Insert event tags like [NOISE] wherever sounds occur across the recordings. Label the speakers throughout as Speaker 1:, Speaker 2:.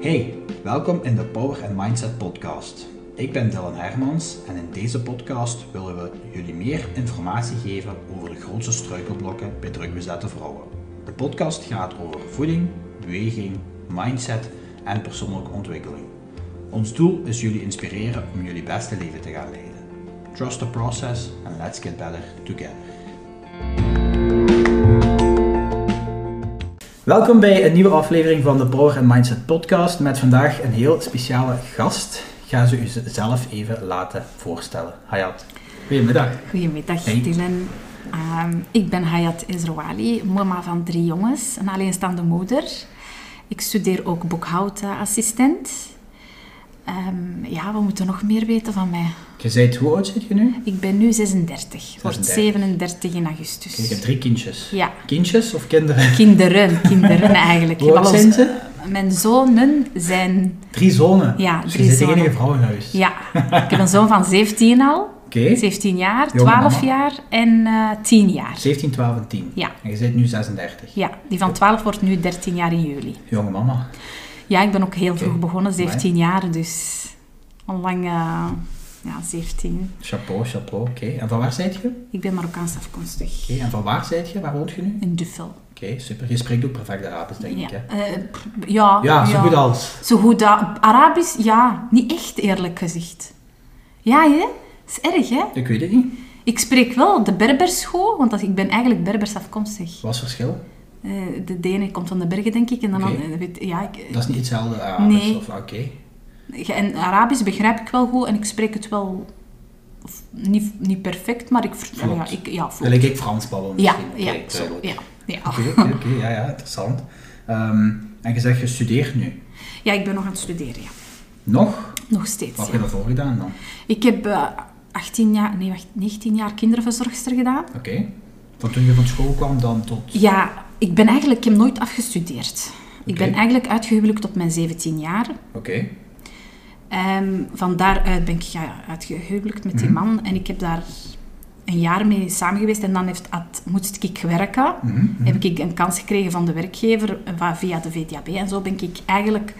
Speaker 1: Hey, welkom in de Power and Mindset podcast. Ik ben Dylan Hermans en in deze podcast willen we jullie meer informatie geven over de grootste struikelblokken bij drukbezette vrouwen. De podcast gaat over voeding, beweging, mindset en persoonlijke ontwikkeling. Ons doel is jullie inspireren om jullie beste leven te gaan leiden. Trust the process and let's get better together. Welkom bij een nieuwe aflevering van de Power and Mindset podcast met vandaag een heel speciale gast. Ga ze u zelf even laten voorstellen. Hayat. Goedemiddag.
Speaker 2: Goedemiddag
Speaker 1: Hey.
Speaker 2: Dylan. Ehm, ik ben Hayat Ezrouali, mama van drie jongens, een alleenstaande moeder. Ik studeer ook boekhoutassistent. Ehm, ja, we moeten nog meer weten van mij.
Speaker 1: Je bent, hoe oud zit je nu?
Speaker 2: Ik ben nu 36, wordt
Speaker 1: 36.
Speaker 2: 37 in augustus.
Speaker 1: Je hebt drie kindjes.
Speaker 2: Ja,
Speaker 1: Kindjes of kinderen?
Speaker 2: kinderen,
Speaker 1: [LAUGHS]
Speaker 2: kinderen eigenlijk.
Speaker 1: Hoe oud
Speaker 2: Wel,
Speaker 1: zijn ze?
Speaker 2: Mijn zonen zijn,
Speaker 1: Drie zonen.
Speaker 2: Ja,
Speaker 1: dus
Speaker 2: drie
Speaker 1: je bent de
Speaker 2: zonen.
Speaker 1: enige vrouw in huis.
Speaker 2: ja, ik heb een zoon van 17 al,
Speaker 1: Oké.
Speaker 2: 17 jaar,
Speaker 1: Jonge
Speaker 2: 12
Speaker 1: mama.
Speaker 2: jaar en eh, 10 jaar.
Speaker 1: 17, 12 en 10.
Speaker 2: Ja.
Speaker 1: En je bent nu 36.
Speaker 2: Ja, die van 12 wordt nu 13 jaar in juli.
Speaker 1: Jonge mama.
Speaker 2: Ja, ik ben ook heel
Speaker 1: Oké.
Speaker 2: vroeg begonnen, 17 jaar, dus onlang eh, ja, 17.
Speaker 1: Chapeau, chapeau. Oké. En van waar zijt je? Oké.
Speaker 2: Ik ben Marokkaans afkomstig.
Speaker 1: En van waar zijt je? Waar woont je nu?
Speaker 2: In Duffel.
Speaker 1: Oké, super. Je spreekt ook perfect Arabisch, denk
Speaker 2: Ja.
Speaker 1: ik. Hè?
Speaker 2: Eh, pff, ja,
Speaker 1: Ja, zo goed als.
Speaker 2: Zo goed dat- Arabisch, ja, niet echt eerlijk gezegd. Ja, hè? Dat is erg, hè?
Speaker 1: Ik weet het niet.
Speaker 2: Ik spreek wel de Berbers goed, want dat- ik ben eigenlijk Berbers afkomstig.
Speaker 1: Wat is het verschil?
Speaker 2: Eh, de, de ene komt van de bergen, denk ik, en dan...
Speaker 1: Oké.
Speaker 2: eh, weet- ja, ik,
Speaker 1: Dat is niet hetzelfde Arabisch
Speaker 2: Nee.
Speaker 1: of oké.
Speaker 2: Ja, En Arabisch begrijp ik wel goed en ik spreek het wel of niet, niet perfect, maar ik vertel
Speaker 1: Vlot.
Speaker 2: ja, ik, ja, vlot.
Speaker 1: Dan lijkt ik Frans babbelen
Speaker 2: ja,
Speaker 1: misschien. Oké,
Speaker 2: ja, zo,
Speaker 1: duidelijk.
Speaker 2: ja, Oh. ja.
Speaker 1: Oké, oké, oké, ja, ja, interessant. Ehm, en je zegt, je studeert nu.
Speaker 2: Ja, ik ben nog aan het studeren, ja.
Speaker 1: Nog?
Speaker 2: Nog
Speaker 1: Wat
Speaker 2: steeds.
Speaker 1: heb
Speaker 2: ja.
Speaker 1: je daarvoor gedaan dan?
Speaker 2: Ik heb eh, 18 jaar, nee, wacht, 19 jaar kinderverzorgster gedaan.
Speaker 1: Oké. Van toen je van school kwam dan tot...
Speaker 2: Ja, ik ben eigenlijk, ik heb nooit afgestudeerd. Ik
Speaker 1: Oké.
Speaker 2: ben eigenlijk uitgehuwelijkt op mijn 17 jaar.
Speaker 1: Oké.
Speaker 2: Ehm, van daaruit ben ik ja, uitgehuwelijkt met
Speaker 1: Mhm.
Speaker 2: die man en ik heb daar een jaar mee samen geweest en dan heeft, had, moest ik werken.
Speaker 1: Mhm, mhm.
Speaker 2: heb ik een kans gekregen van de werkgever eh, va- via de VDAB. En zo ben ik eigenlijk...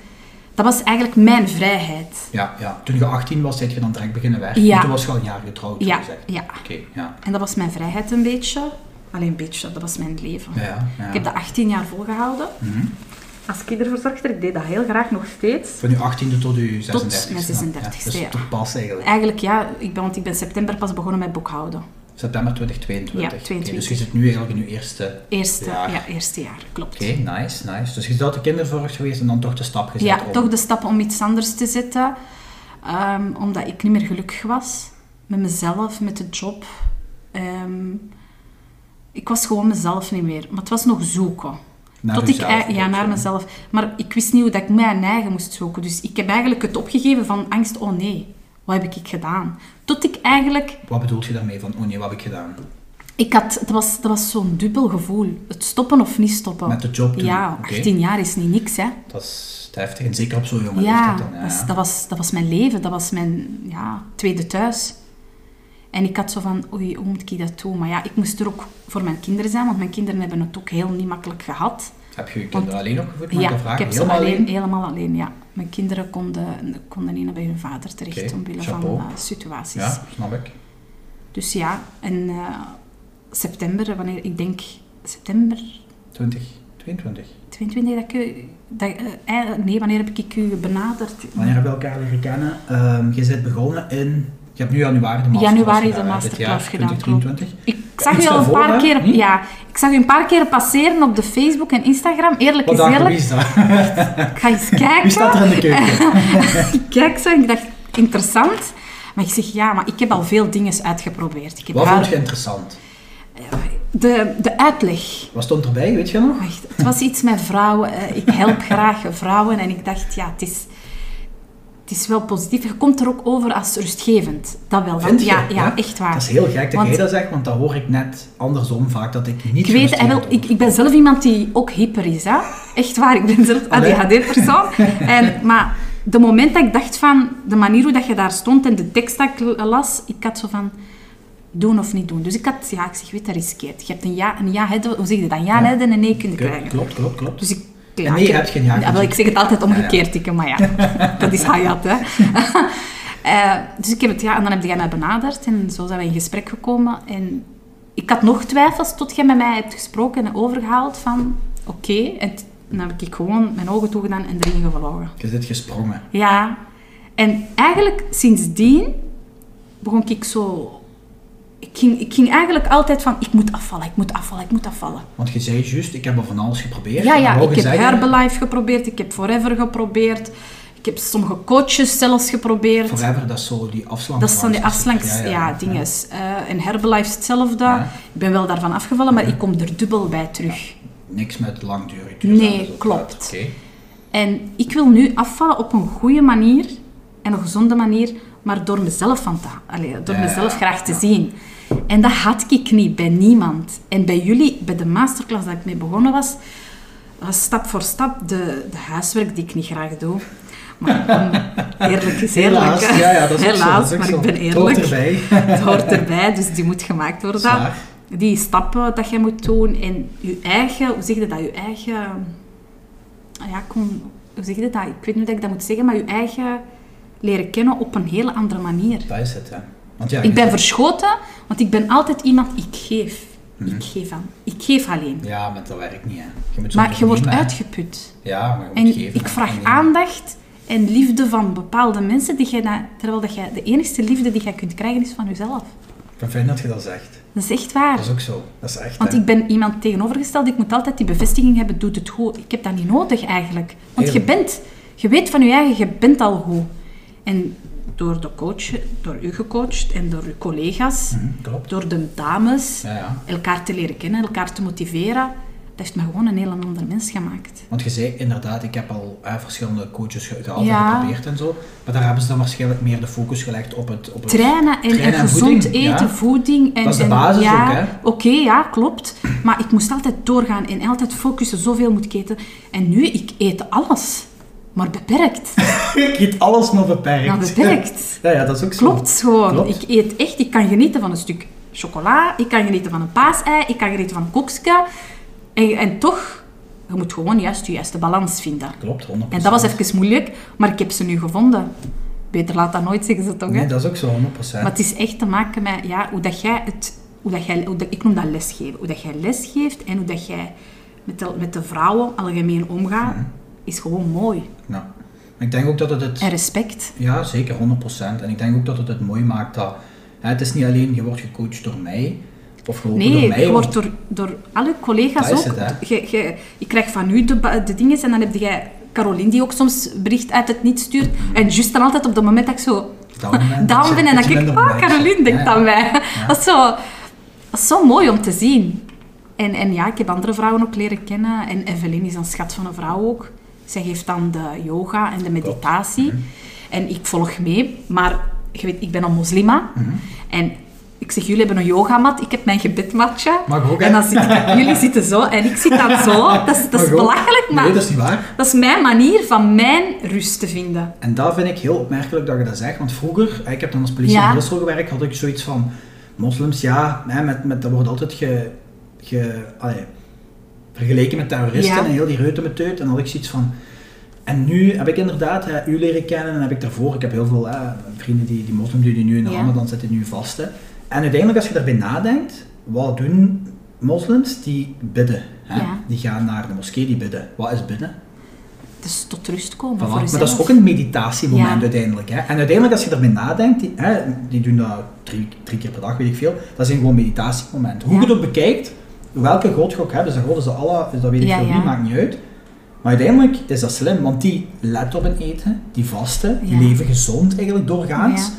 Speaker 2: Dat was eigenlijk mijn vrijheid.
Speaker 1: Ja, ja. Toen je 18 was, zit je dan direct beginnen werken.
Speaker 2: Ja.
Speaker 1: En Toen was je al een jaar getrouwd, zo
Speaker 2: Ja,
Speaker 1: gezegd.
Speaker 2: ja.
Speaker 1: Oké, ja.
Speaker 2: En dat was mijn vrijheid een beetje. Alleen een beetje, dat was mijn leven.
Speaker 1: Ja, ja. ja.
Speaker 2: Ik heb dat 18 jaar volgehouden.
Speaker 1: Mhm.
Speaker 2: Als kinderverzorgster, ik deed dat heel graag nog steeds.
Speaker 1: Van je 18e tot je 36e.
Speaker 2: mijn 36e,
Speaker 1: dus
Speaker 2: ja.
Speaker 1: tot pas eigenlijk.
Speaker 2: Eigenlijk ja, ik ben, want ik ben september pas begonnen met boekhouden.
Speaker 1: September 2022.
Speaker 2: Ja,
Speaker 1: Oké, dus je
Speaker 2: 22.
Speaker 1: zit nu eigenlijk in je eerste
Speaker 2: Eerste
Speaker 1: Ja.
Speaker 2: ja. eerste jaar, klopt.
Speaker 1: Oké, nice, nice. Dus je bent uit de kinderzorg geweest en dan toch de stap gezet
Speaker 2: Ja,
Speaker 1: om...
Speaker 2: toch de stap om iets anders te zetten. Ehm, omdat ik niet meer gelukkig was met mezelf, met de job. Ehm, ik was gewoon mezelf niet meer. Maar het was nog zoeken.
Speaker 1: naar
Speaker 2: Tot ik,
Speaker 1: jezelf
Speaker 2: ei- ja,
Speaker 1: ook,
Speaker 2: naar
Speaker 1: zo.
Speaker 2: mezelf. Maar ik wist niet hoe dat ik mijn eigen moest zoeken. Dus ik heb eigenlijk het opgegeven van angst. Oh nee, wat heb ik gedaan? Tot ik eigenlijk...
Speaker 1: Wat bedoel je daarmee van, oh nee, wat heb ik gedaan?
Speaker 2: Ik had, het was, dat was zo'n dubbel gevoel. Het stoppen of niet stoppen.
Speaker 1: Met de job doen.
Speaker 2: Ja,
Speaker 1: Oké.
Speaker 2: 18 jaar is niet niks, hè.
Speaker 1: Dat is heftig, en zeker op zo'n jonge
Speaker 2: Ja,
Speaker 1: leeftijd dan.
Speaker 2: dat, is- dat, was, dat was mijn leven. Dat was mijn ja, tweede thuis. En ik had zo van, oei, hoe moet ik dat doen? Maar ja, ik moest er ook voor mijn kinderen zijn, want mijn kinderen hebben het ook heel niet makkelijk gehad.
Speaker 1: Heb je je kinderen alleen opgevoed? Mag
Speaker 2: ja,
Speaker 1: dat vragen?
Speaker 2: ik heb ze
Speaker 1: Helemaal
Speaker 2: alleen, helemaal alleen, ja. Mijn kinderen konden, konden niet naar bij hun vader terecht,
Speaker 1: Oké,
Speaker 2: omwille
Speaker 1: chapeau.
Speaker 2: van eh, situaties.
Speaker 1: Ja, snap ik.
Speaker 2: Dus ja, en eh, september, eh, wanneer, ik denk september
Speaker 1: 2022.
Speaker 2: 22, dat ik u... Dat, eh, eh, nee, wanneer heb ik u benaderd?
Speaker 1: Wanneer hebben we elkaar leren kennen? Ehm, je bent begonnen in... Je hebt nu januari de masterclass
Speaker 2: Januari de
Speaker 1: gedaan, hè,
Speaker 2: masterclass
Speaker 1: dit
Speaker 2: gedaan,
Speaker 1: jaar,
Speaker 2: klopt.
Speaker 1: 2023.
Speaker 2: Ik zag
Speaker 1: Iets
Speaker 2: u al een
Speaker 1: daarvoor, hè?
Speaker 2: paar keer,
Speaker 1: Niet?
Speaker 2: ja, ik zag u een paar keer passeren op de Facebook en Instagram. Eerlijk
Speaker 1: Wat
Speaker 2: is
Speaker 1: dagen, wie
Speaker 2: eerlijk,
Speaker 1: is dat?
Speaker 2: ik ga eens
Speaker 1: [LAUGHS] Wie staat
Speaker 2: kijken.
Speaker 1: er in de
Speaker 2: [LAUGHS]
Speaker 1: keuken?
Speaker 2: Ik kijk zo en ik dacht, interessant. Maar ik zeg, ja, maar ik heb al veel dingen uitgeprobeerd. Ik heb
Speaker 1: Wat
Speaker 2: haar-
Speaker 1: vond je interessant?
Speaker 2: de, de uitleg. Oh,
Speaker 1: Wat stond erbij, weet je nog?
Speaker 2: Wacht, het was iets met vrouwen. eh, Ik
Speaker 1: [LAUGHS]
Speaker 2: help graag vrouwen. En ik dacht, ja, het is, het is wel positief. Je komt er ook over als rustgevend. Dat wel. want
Speaker 1: Vind je?
Speaker 2: ja, ja, echt waar.
Speaker 1: Dat is heel gek dat
Speaker 2: Want-
Speaker 1: jij dat zegt, want dat hoor ik net andersom vaak, dat ik niet
Speaker 2: Ik weet, en wel,
Speaker 1: gerustgevend
Speaker 2: ik, ik ben zelf iemand die ook hyper is. Hè? Echt waar, ik ben zelf
Speaker 1: Allee. [LAUGHS]
Speaker 2: ADHD-persoon. En, maar de moment dat ik dacht van de manier hoe dat je daar stond en de tekst dat ik l- las, ik had zo van doen of niet doen. Dus ik had, ja, ik zeg, weet, dat riskeert. Je hebt een ja, een ja, hebben, hoe zeg je dat? Een ja,
Speaker 1: Ja.
Speaker 2: hebben en een nee kunnen
Speaker 1: Klopt,
Speaker 2: krijgen.
Speaker 1: Klopt, klopt, klopt.
Speaker 2: Dus ik Ja,
Speaker 1: nee, je
Speaker 2: ik-
Speaker 1: hebt geen Hayat
Speaker 2: Ja, wel, ik zeg het altijd omgekeerd,
Speaker 1: Ja,
Speaker 2: Ikke, maar ja, [LAUGHS] dat is Hayat, hè. [LAUGHS] Eh, dus ik heb het, ja, en dan heb jij mij benaderd en zo zijn we in gesprek gekomen. En ik had nog twijfels tot jij met mij hebt gesproken en overgehaald van, oké. En t- dan heb ik gewoon mijn ogen toegedaan en erin gevlogen.
Speaker 1: Je zit gesprongen.
Speaker 2: Ja, en eigenlijk sindsdien begon ik zo... Ik ging, ik ging eigenlijk altijd van, ik moet afvallen, ik moet afvallen, ik moet afvallen.
Speaker 1: Want je zei juist, ik heb al van alles geprobeerd.
Speaker 2: Ja, ja,
Speaker 1: Dan wou
Speaker 2: ik
Speaker 1: je
Speaker 2: heb
Speaker 1: zeggen,
Speaker 2: Herbalife geprobeerd, ik heb Forever geprobeerd, ik heb sommige coaches zelfs geprobeerd.
Speaker 1: Forever, dat is zo die afslank.
Speaker 2: Dat zijn die afslanks, ja,
Speaker 1: Ja.
Speaker 2: dinges. Eh, en Herbalife is hetzelfde.
Speaker 1: Ja.
Speaker 2: Ik ben wel daarvan afgevallen, maar ik kom er dubbel bij terug.
Speaker 1: Niks met langdurig
Speaker 2: Nee,
Speaker 1: dat is ook
Speaker 2: klopt.
Speaker 1: uit. Oké.
Speaker 2: En ik wil nu afvallen op een goede manier en een gezonde manier, maar door mezelf, van te, allee, door
Speaker 1: Ja,
Speaker 2: mezelf graag te
Speaker 1: ja.
Speaker 2: zien. En dat had ik niet bij niemand. En bij jullie, bij de masterclass dat ik mee begonnen was, was stap voor stap de, de huiswerk die ik niet graag doe. Maar om- eerlijk is
Speaker 1: [LAUGHS]
Speaker 2: eerlijk.
Speaker 1: Helaas,
Speaker 2: hè.
Speaker 1: ja, ja, dat is ook zo,
Speaker 2: Helaas,
Speaker 1: dat is ook
Speaker 2: maar
Speaker 1: zo.
Speaker 2: ik ben
Speaker 1: Het hoort
Speaker 2: eerlijk.
Speaker 1: erbij.
Speaker 2: Het [LAUGHS] hoort erbij, dus die moet gemaakt worden.
Speaker 1: Zwaar.
Speaker 2: Die stappen dat je moet doen en je eigen, hoe zeg je dat, je eigen, ah ja, kom, hoe zeg je dat, ik weet niet hoe ik dat moet zeggen, maar je eigen leren kennen op een hele andere manier.
Speaker 1: Dat is het, ja. Want ja, je
Speaker 2: Ik ben
Speaker 1: zit-
Speaker 2: verschoten, want ik ben altijd iemand, ik geef. Ik geef aan. Ik geef alleen.
Speaker 1: Mhm. Ja, maar dat werkt niet, hè. Je moet
Speaker 2: Maar
Speaker 1: soms
Speaker 2: je wordt
Speaker 1: nemen, hè.
Speaker 2: uitgeput.
Speaker 1: Ja, maar je moet
Speaker 2: En
Speaker 1: geven,
Speaker 2: ik
Speaker 1: hè.
Speaker 2: vraag
Speaker 1: En-
Speaker 2: aandacht en liefde van bepaalde mensen, die jij na- terwijl dat jij, de enigste liefde die jij kunt krijgen is van jezelf.
Speaker 1: Ik ben fijn dat je dat zegt.
Speaker 2: Dat is echt waar.
Speaker 1: Dat is ook zo. Dat is echt,
Speaker 2: Want
Speaker 1: hè.
Speaker 2: ik ben iemand tegenovergesteld, ik moet altijd die bevestiging hebben, doet het goed. Ik heb dat niet nodig eigenlijk. Want je
Speaker 1: Heel.
Speaker 2: bent, je weet van je eigen, je bent al goed. En door de coach, door u gecoacht en door uw collega's,
Speaker 1: Hm, Klopt.
Speaker 2: door de dames,
Speaker 1: Ja, ja.
Speaker 2: elkaar te leren kennen, elkaar te motiveren, dat heeft me gewoon een heel ander mens gemaakt.
Speaker 1: Want je zei inderdaad, ik heb al eh, verschillende coaches ge- gehaald en
Speaker 2: Ja.
Speaker 1: geprobeerd en zo. Maar daar hebben ze dan waarschijnlijk meer de focus gelegd op het... Op het
Speaker 2: Trainen en,
Speaker 1: Trainen
Speaker 2: en
Speaker 1: en
Speaker 2: gezond
Speaker 1: voeding, ja.
Speaker 2: eten, voeding. En,
Speaker 1: Dat is de
Speaker 2: en-
Speaker 1: basis
Speaker 2: ja,
Speaker 1: ook, hè?
Speaker 2: Oké, ja, klopt. Maar ik moest altijd doorgaan en altijd focussen. Zoveel moet ik eten. En nu, ik eet alles. Maar beperkt.
Speaker 1: [LAUGHS] ik eet alles nog beperkt.
Speaker 2: Maar beperkt.
Speaker 1: [LAUGHS] Ja, ja, dat is ook zo. [LAUGHS]
Speaker 2: Klopt gewoon.
Speaker 1: Klopt.
Speaker 2: Ik eet echt. Ik kan genieten van een stuk chocola. Ik kan genieten van een paasei. Ik kan genieten van een koekske. En, en toch, je moet gewoon juist de juiste balans vinden.
Speaker 1: Klopt, 100%.
Speaker 2: En dat was even moeilijk, maar ik heb ze nu gevonden. Beter laat dan nooit, zeggen ze toch, hè?
Speaker 1: Nee, dat is ook zo, 100%.
Speaker 2: Maar het is echt te maken met ja, hoe dat jij het... Hoe dat jij, hoe dat- ik noem dat lesgeven. Hoe dat jij lesgeeft en hoe dat jij met de, met de vrouwen algemeen omgaat,
Speaker 1: Mhm.
Speaker 2: is gewoon mooi.
Speaker 1: Nou, ik denk ook dat het het...
Speaker 2: En respect.
Speaker 1: Ja, zeker, 100%. En ik denk ook dat het het mooi maakt dat... Hè, het is niet alleen, je wordt gecoacht door mij. Of geholpen door
Speaker 2: Nee,
Speaker 1: mij.
Speaker 2: je
Speaker 1: want-
Speaker 2: wordt door, door alle collega's
Speaker 1: Dat
Speaker 2: ook...
Speaker 1: is het,
Speaker 2: je, je, je krijgt van u de, ba- de dingen en dan heb jij Caroline die ook soms bericht uit het niet stuurt. En juist dan altijd op het moment dat ik zo
Speaker 1: Down ben.
Speaker 2: [LAUGHS] down ben
Speaker 1: Dat je
Speaker 2: en dan denk ik...
Speaker 1: minder
Speaker 2: Oh,
Speaker 1: blij
Speaker 2: Caroline
Speaker 1: bent.
Speaker 2: denkt
Speaker 1: Ja,
Speaker 2: aan
Speaker 1: ja.
Speaker 2: mij. Dat, is zo, dat is zo mooi om te zien. En, en ja, ik heb andere vrouwen ook leren kennen. En Evelyn is een schat van een vrouw ook. Zij geeft dan de yoga en de meditatie.
Speaker 1: Mhm.
Speaker 2: En ik volg mee. Maar je weet, ik ben een moslima.
Speaker 1: Mhm.
Speaker 2: En ik zeg, jullie hebben een yogamat. Ik heb mijn gebedmatje.
Speaker 1: Mag ook, hè?
Speaker 2: En dan zit
Speaker 1: [LAUGHS]
Speaker 2: ik, jullie zitten zo en ik zit dan zo. Dat is, dat is
Speaker 1: Maar goed.
Speaker 2: belachelijk, maar
Speaker 1: Nee, dat is niet waar.
Speaker 2: dat is mijn manier van mijn rust te vinden.
Speaker 1: En dat vind ik heel opmerkelijk dat je dat zegt. Want vroeger, ik heb dan als politie
Speaker 2: Ja.
Speaker 1: in Brussel gewerkt, had ik zoiets van... Moslims, ja, hè, met, met, dat wordt altijd ge, ge, allee, vergeleken met terroristen
Speaker 2: Ja.
Speaker 1: en heel die reuten met En dan had ik zoiets van... En nu heb ik inderdaad hè, u leren kennen en heb ik daarvoor... Ik heb heel veel hè, vrienden die, die moslims doen, die nu in de
Speaker 2: Ja.
Speaker 1: Ramadan zitten, nu vasten. En uiteindelijk, als je daarbij nadenkt, wat doen moslims? Die bidden. Hè?
Speaker 2: Ja.
Speaker 1: Die gaan naar de moskee, die bidden. Wat is bidden?
Speaker 2: Dus tot rust komen
Speaker 1: Voilà,
Speaker 2: voor
Speaker 1: Maar
Speaker 2: jezelf.
Speaker 1: dat is ook een meditatiemoment
Speaker 2: Ja.
Speaker 1: uiteindelijk. Hè? En uiteindelijk, als je ermee nadenkt, die, hè, die doen dat drie, drie keer per dag, weet ik veel. Dat zijn gewoon meditatiemomenten. Hoe
Speaker 2: Ja.
Speaker 1: je het ook bekijkt, welke god je ook hebt, is dat god, is dat Allah, is dus dat weet ik
Speaker 2: Ja,
Speaker 1: veel
Speaker 2: ja.
Speaker 1: niet, maakt niet uit. Maar uiteindelijk is dat slim, want die let op hun eten, die vasten, die
Speaker 2: Ja.
Speaker 1: leven gezond eigenlijk doorgaans.
Speaker 2: Ja.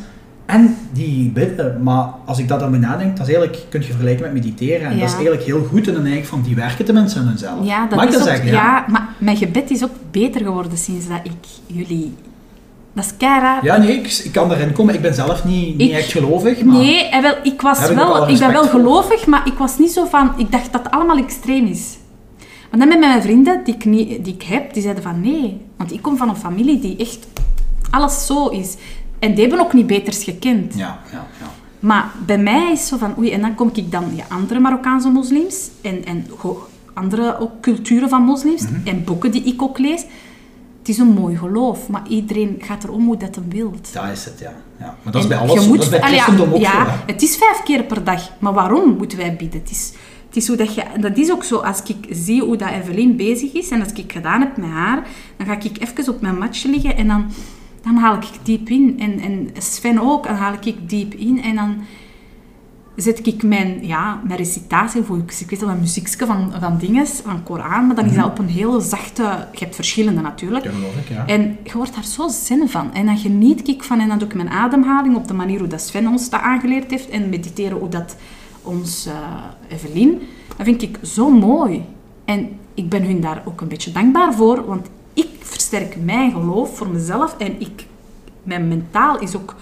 Speaker 1: En die bidden, maar als ik dat aan me nadenk, dat is eigenlijk, kun je vergelijken met mediteren. En
Speaker 2: Ja.
Speaker 1: dat is eigenlijk heel goed en dan denk ik van, die werken tenminste aan hunzelf.
Speaker 2: Ja, dat
Speaker 1: Mag ik
Speaker 2: is
Speaker 1: dat
Speaker 2: ook-
Speaker 1: zeggen?
Speaker 2: ja. maar mijn gebed is ook beter geworden sinds dat ik jullie... Dat is kei raar.
Speaker 1: Ja, nee, ik, ik kan erin komen. Ik ben zelf niet, niet
Speaker 2: Ik-
Speaker 1: echt gelovig, maar...
Speaker 2: nee, en wel, ik, was
Speaker 1: Daar heb ik ook alle
Speaker 2: wel, ik ben
Speaker 1: respect
Speaker 2: wel
Speaker 1: voor.
Speaker 2: gelovig, maar ik was niet zo van... Ik dacht dat het allemaal extreem is. Maar dan met mijn vrienden die ik, niet, die ik heb, die zeiden van nee. Want ik kom van een familie die echt alles zo is. En die hebben ook niet beters gekend.
Speaker 1: Ja, ja, ja.
Speaker 2: Maar bij mij is zo van, oei, en dan kom ik dan ja, andere Marokkaanse moslims en, en go- andere ook culturen van moslims en boeken die ik ook lees. Het is een mooi geloof, maar iedereen gaat er om hoe dat hem wil.
Speaker 1: Dat is het, ja. ja. Maar dat is
Speaker 2: En
Speaker 1: bij alles
Speaker 2: je
Speaker 1: zo.
Speaker 2: moet-
Speaker 1: Dat is bij
Speaker 2: Allee, ja,
Speaker 1: christendom ook
Speaker 2: ja,
Speaker 1: zo. hè.
Speaker 2: het is vijf keer per dag. Maar waarom moeten wij bidden? Het is, het is hoe dat, je, en dat is ook zo, als ik zie hoe dat Evelien bezig is en als ik gedaan heb met haar, dan ga ik even op mijn matje liggen en dan, dan haal ik diep in. En, en Sven ook, dan haal ik diep in en dan zet ik mijn, ja, mijn recitatie voor, ik ik weet al, een muziekje van, van dinges, van Koran, maar dan is dat
Speaker 1: Mhm.
Speaker 2: op een heel zachte, je hebt verschillende natuurlijk,
Speaker 1: Ja, geloof ik, ja.
Speaker 2: en je wordt daar zo zin van. En dan geniet ik van en dan doe ik mijn ademhaling op de manier hoe dat Sven ons dat aangeleerd heeft en mediteren hoe dat ons eh Evelien. Dat vind ik zo mooi. En ik ben hun daar ook een beetje dankbaar voor, want ik versterk mijn geloof voor mezelf en ik, mijn mentaal is ook...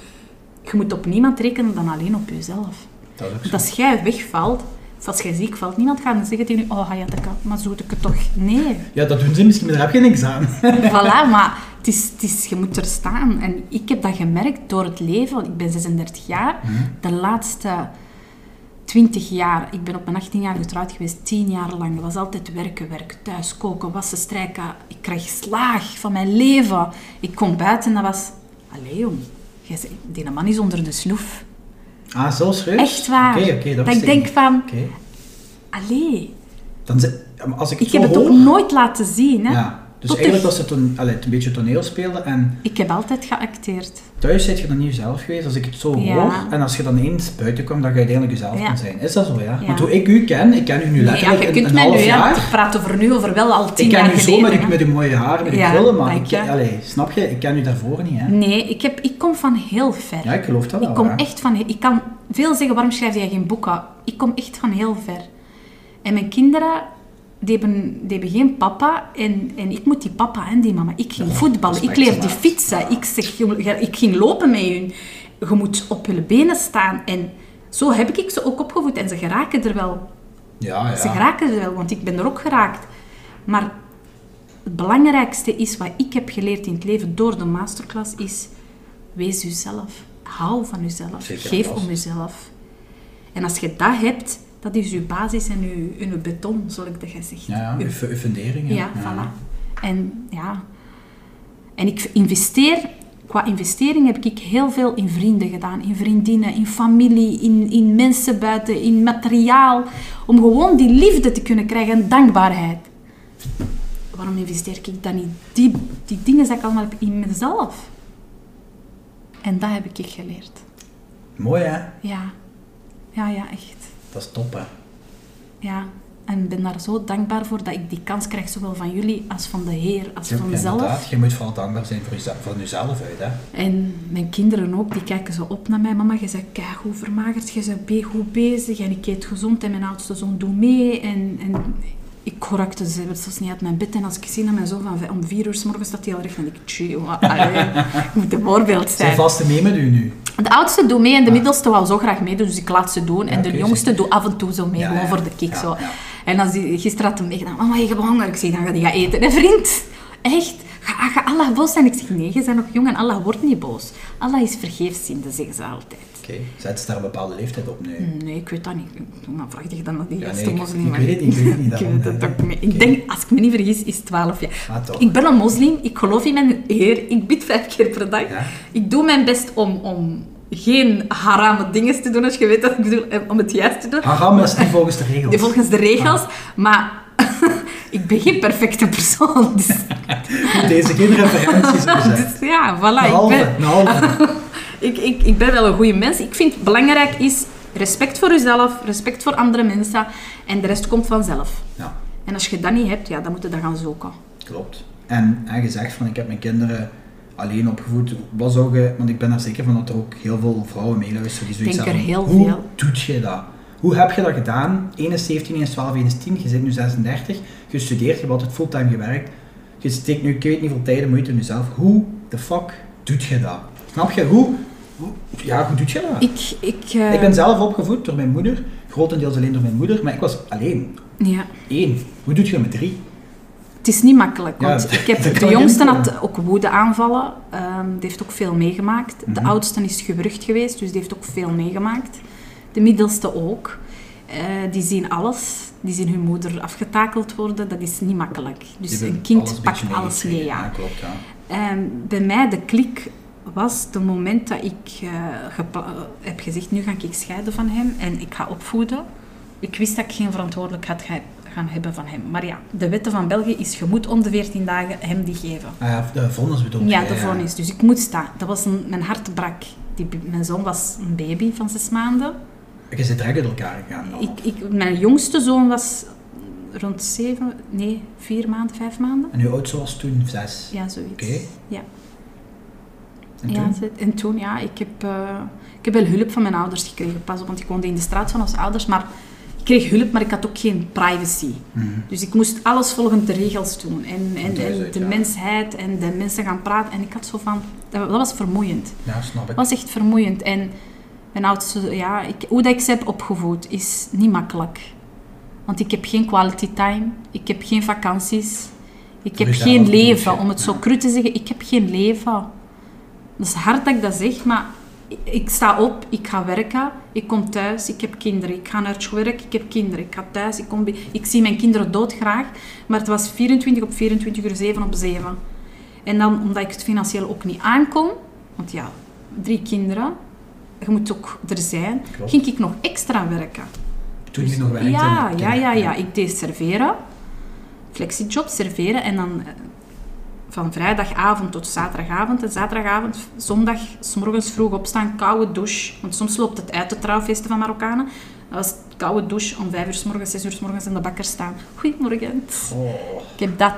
Speaker 2: Je moet op niemand rekenen dan alleen op jezelf.
Speaker 1: Dat is ook zo.
Speaker 2: Want als jij wegvalt, of als jij ziek valt, niemand gaat dan zeggen tegen je, oh ja, dat kan, maar zo doe ik het toch. Nee.
Speaker 1: Ja, dat doen ze misschien, maar daar heb je niks
Speaker 2: [LAUGHS]
Speaker 1: aan.
Speaker 2: Voilà, maar het is, het is, je moet er staan. En ik heb dat gemerkt door het leven. Want ik ben 36 jaar.
Speaker 1: Mhm.
Speaker 2: De laatste 20 jaar, ik ben op mijn 18 jaar getrouwd geweest, 10 jaar lang. Het was altijd werken, werk, thuis koken, wassen, strijken. Ik kreeg slaag van mijn leven. Ik kom buiten en dat was... Allee jong, jij zei, die man is onder de snoef.
Speaker 1: Ah, zo serieus?
Speaker 2: Echt waar.
Speaker 1: Oké, oké, dat,
Speaker 2: dat
Speaker 1: wist
Speaker 2: ik denk
Speaker 1: niet.
Speaker 2: van,
Speaker 1: Oké.
Speaker 2: allee,
Speaker 1: Dan ze- ja, maar als ik het
Speaker 2: ik
Speaker 1: zo
Speaker 2: heb het
Speaker 1: hoor...
Speaker 2: ook nooit laten zien. Hè?
Speaker 1: Ja. Dus
Speaker 2: Tot de-
Speaker 1: eigenlijk was het een, allee, het een beetje toneel spelen en
Speaker 2: Ik heb altijd geacteerd.
Speaker 1: thuis zit je dan niet jezelf geweest, als ik het zo
Speaker 2: Ja.
Speaker 1: hoor. En als je dan eens buiten komt, dat je uiteindelijk jezelf
Speaker 2: Ja.
Speaker 1: kan zijn. Is dat zo, ja?
Speaker 2: Ja.
Speaker 1: Want hoe ik u ken, ik ken u nu
Speaker 2: Nee, ja,
Speaker 1: letterlijk
Speaker 2: je
Speaker 1: een-
Speaker 2: kunt
Speaker 1: een,
Speaker 2: mij nu
Speaker 1: half
Speaker 2: ja,
Speaker 1: jaar.
Speaker 2: te praten over nu, over wel al tien
Speaker 1: Ik ken
Speaker 2: jaar
Speaker 1: u zo
Speaker 2: geleden.
Speaker 1: met, die-
Speaker 2: hè.
Speaker 1: met uw mooie haar, met uw
Speaker 2: Ja,
Speaker 1: krullen, maar
Speaker 2: dank
Speaker 1: ik,
Speaker 2: je.
Speaker 1: allee, snap je? Ik ken u daarvoor niet, hè?
Speaker 2: Nee, ik, heb, ik kom van heel ver.
Speaker 1: Ja, ik geloof dat wel,
Speaker 2: Ik kom
Speaker 1: ja.
Speaker 2: echt van... Ik kan veel zeggen, waarom schrijf jij geen boeken? Ik kom echt van heel ver. En mijn kinderen, die hebben, die hebben geen papa. En, en ik moet die papa en die mama. Ik ging voetballen, ik
Speaker 1: respect,
Speaker 2: leerde
Speaker 1: maat.
Speaker 2: fietsen. Ik, zeg, "Jong, ja, ik ging lopen met hun. Je moet op hun benen staan. En zo heb ik ze ook opgevoed. En ze geraken er wel
Speaker 1: Ja, ja.
Speaker 2: Ze geraken er wel, want ik ben er ook geraakt. Maar het belangrijkste is wat ik heb geleerd in het leven door de masterclass is wees jezelf. Hou van jezelf.
Speaker 1: Zeker en
Speaker 2: Geef
Speaker 1: vast.
Speaker 2: om jezelf. En als je dat hebt, dat is je basis en je, en je beton, zal ik dat gezegd.
Speaker 1: Ja, ja.
Speaker 2: Je-
Speaker 1: Uw, fu- uw fundering,
Speaker 2: ja, voilà. En ja. En ik investeer, qua investering heb ik heel veel in vrienden gedaan, in vriendinnen, in familie, in, in mensen buiten, in materiaal. Om gewoon die liefde te kunnen krijgen en dankbaarheid. Waarom investeer ik dan niet die, die dingen die ik allemaal heb in mezelf? En dat heb ik geleerd.
Speaker 1: Mooi, hè?
Speaker 2: Ja, ja, ja, echt.
Speaker 1: Dat is top, hè?
Speaker 2: Ja, en ik ben daar zo dankbaar voor dat ik die kans krijg, zowel van jullie als van de Heer, als
Speaker 1: Ja,
Speaker 2: van mezelf.
Speaker 1: Inderdaad, je moet vooral dankbaar zijn voor jezelf, van jezelf uit, hè?
Speaker 2: En mijn kinderen ook, die kijken zo op naar mij. Mama, je bent keigoed vermagerd, je bent be- goed bezig en ik eet gezond en mijn oudste zoon doet mee. En, en ik korakte ze zelfs niet uit mijn bed. En als ik zie naar mijn zoon van vij- om vier uur s morgens dat hij al recht, dan denk ik, tjie, jongen, allee, ik moet een voorbeeld
Speaker 1: Zijn
Speaker 2: zijn.
Speaker 1: vaste mee met u nu?
Speaker 2: De oudste doet mee en de middelste wou zo graag meedoen, dus ik laat ze doen. en de
Speaker 1: Ah. oké,
Speaker 2: jongste doet af en toe zo mee,
Speaker 1: Ja,
Speaker 2: gewoon
Speaker 1: ja,
Speaker 2: voor de kick.
Speaker 1: ja,
Speaker 2: zo.
Speaker 1: ja.
Speaker 2: En als die, gisteren had hem meegedaan, mama, je hebt honger. Ik zeg, dan ga je gaan eten. hè vriend, echt, ga, ga Allah boos zijn? Ik zeg, nee, je bent nog jong en Allah wordt niet boos. Allah is vergeefsziende, zeggen ze altijd.
Speaker 1: Oké. Zet ze daar een bepaalde leeftijd op nu?
Speaker 2: Nee, ik weet dat niet. Dan vraag je dan naar die
Speaker 1: Ja,
Speaker 2: gasten.
Speaker 1: nee, ik-
Speaker 2: moslim.
Speaker 1: ik weet het niet, ik weet het niet,
Speaker 2: [LAUGHS] Ik
Speaker 1: daarom,
Speaker 2: weet het
Speaker 1: nee,
Speaker 2: ook
Speaker 1: nee.
Speaker 2: niet. Ik
Speaker 1: Oké.
Speaker 2: denk, als ik me niet vergis, is 12 jaar.
Speaker 1: Ah, toch.
Speaker 2: ik ben een moslim, ik geloof in mijn Heer, ik bid vijf keer per dag.
Speaker 1: Ja.
Speaker 2: Ik doe mijn best om, om geen harame dingen te doen, als je weet wat ik bedoel, en om het juist te doen.
Speaker 1: Haram is niet volgens de regels.
Speaker 2: Die volgens de regels,
Speaker 1: Ah.
Speaker 2: maar [LAUGHS] ik ben geen perfecte persoon.
Speaker 1: [LAUGHS]
Speaker 2: [LAUGHS] Dus,
Speaker 1: Deze geen referenties
Speaker 2: [LAUGHS]
Speaker 1: gezet.
Speaker 2: dus ja, voilà.
Speaker 1: Een
Speaker 2: Ik
Speaker 1: halve,
Speaker 2: ben,
Speaker 1: een
Speaker 2: [LAUGHS]
Speaker 1: halve.
Speaker 2: ik, ik, ik ben wel een goede mens. Ik vind belangrijk is respect voor jezelf, respect voor andere mensen en de rest komt vanzelf.
Speaker 1: Ja,
Speaker 2: En als je dat niet hebt, ja, dan moet je dat gaan zoeken.
Speaker 1: klopt. En, en gezegd van, ik heb mijn kinderen alleen opgevoed. Wat zou je, want ik ben er zeker van dat er ook heel veel vrouwen meeluisteren die zoiets
Speaker 2: Denk er
Speaker 1: hebben.
Speaker 2: heel
Speaker 1: Hoe
Speaker 2: veel.
Speaker 1: doet je dat? Hoe heb je dat gedaan? 1 is 17, 1 is 12, 1 is 10. Je zit nu 36. Je studeert, je hebt altijd fulltime gewerkt. Je steekt nu, ik weet niet hoeveel tijden, moeite in jezelf. Hoe de fuck doet je dat? Snap je? Hoe, hoe- ja, hoe doet je dat?
Speaker 2: Ik, ik, eh,
Speaker 1: Ah. ik ben zelf opgevoed door mijn moeder. Grotendeels alleen door mijn moeder. Maar ik was alleen.
Speaker 2: ja.
Speaker 1: Eén. Hoe doet je dat met drie?
Speaker 2: Het is niet makkelijk,
Speaker 1: Ja,
Speaker 2: want
Speaker 1: dat-
Speaker 2: ik
Speaker 1: [LAUGHS] dat kan
Speaker 2: heb, de
Speaker 1: ik
Speaker 2: jongste
Speaker 1: inbeelden.
Speaker 2: had ook woedeaanvallen. Ehm die heeft ook veel meegemaakt. De
Speaker 1: Mhm.
Speaker 2: oudste is gewrucht geweest, dus die heeft ook veel meegemaakt. De middelste ook. Eh, die zien alles. die zien hun moeder afgetakeld worden, dat is niet makkelijk. Dus
Speaker 1: Die hebben
Speaker 2: een kind
Speaker 1: alles
Speaker 2: pakt
Speaker 1: beetje
Speaker 2: alles mee.
Speaker 1: meegekregen.
Speaker 2: Ja.
Speaker 1: klopt, ja.
Speaker 2: Ehm, bij mij de klik was het moment dat ik eh, gepla- heb gezegd, nu ga ik scheiden van hem en ik ga opvoeden. Ik wist dat ik geen verantwoordelijkheid ga gaan hebben van hem. Maar ja, de wetten van België is, je moet om de 14 dagen hem die geven.
Speaker 1: Ah, ja, de vonnis bedoel je,
Speaker 2: Ja, de vonnis. Dus ik moest dat. Dat was een, mijn hart brak. Die, b- mijn zoon was een baby van zes maanden.
Speaker 1: Je zit direct uit elkaar gegaan. dan.
Speaker 2: Ik, ik, mijn jongste zoon was rond zeven, nee, vier maanden, vijf maanden.
Speaker 1: En hoe oud ze was toen? Zes?
Speaker 2: Ja, zoiets.
Speaker 1: Oké.
Speaker 2: Ja.
Speaker 1: En
Speaker 2: ja,
Speaker 1: toen?
Speaker 2: ze- en toen, ja, ik heb, eh, ik heb wel hulp van mijn ouders gekregen. Pas op, want ik woonde in de straat van onze ouders. Maar ik kreeg hulp, maar ik had ook geen privacy.
Speaker 1: Mhm.
Speaker 2: Dus ik moest alles volgens de regels doen. En, en,
Speaker 1: Zo is
Speaker 2: en
Speaker 1: het,
Speaker 2: de
Speaker 1: ja.
Speaker 2: mensheid en de mensen gaan praten. En ik had zo van... Dat, dat was vermoeiend.
Speaker 1: Ja, snap ik.
Speaker 2: Dat was echt vermoeiend. En mijn oudste... Ja, ik, hoe dat ik ze heb opgevoed, is niet makkelijk. Want ik heb geen quality time. Ik heb geen vakanties. Ik
Speaker 1: Voor
Speaker 2: heb
Speaker 1: jezelf
Speaker 2: geen
Speaker 1: bedoel je,
Speaker 2: leven. Om het zo
Speaker 1: ja.
Speaker 2: cru te zeggen, ik heb geen leven. Dat is hard dat ik dat zeg, maar ik- ik sta op, ik ga werken, ik kom thuis, ik heb kinderen, ik ga naar het werk, ik heb kinderen, ik ga thuis, ik, kom bij- ik zie mijn kinderen doodgraag, maar het was 24 op 24 uur, 7 op 7. En dan omdat ik het financieel ook niet aankom, want ja, drie kinderen, je moet ook er zijn,
Speaker 1: Klopt.
Speaker 2: ging ik nog extra werken.
Speaker 1: Toen je
Speaker 2: Dus-
Speaker 1: nog werkte.
Speaker 2: Ja,
Speaker 1: en-
Speaker 2: ja, ja, ja. Ik deed serveren, flexiejob serveren en dan eh, van vrijdagavond tot zaterdagavond. En zaterdagavond, zondag, s morgens vroeg opstaan, koude douche. Want soms loopt het uit de trouwfeesten van Marokkanen. Dat was koude douche om vijf uur s morgens, zes uur s morgens in de bakker staan. Goedemorgen.
Speaker 1: Oh,
Speaker 2: Ik heb dat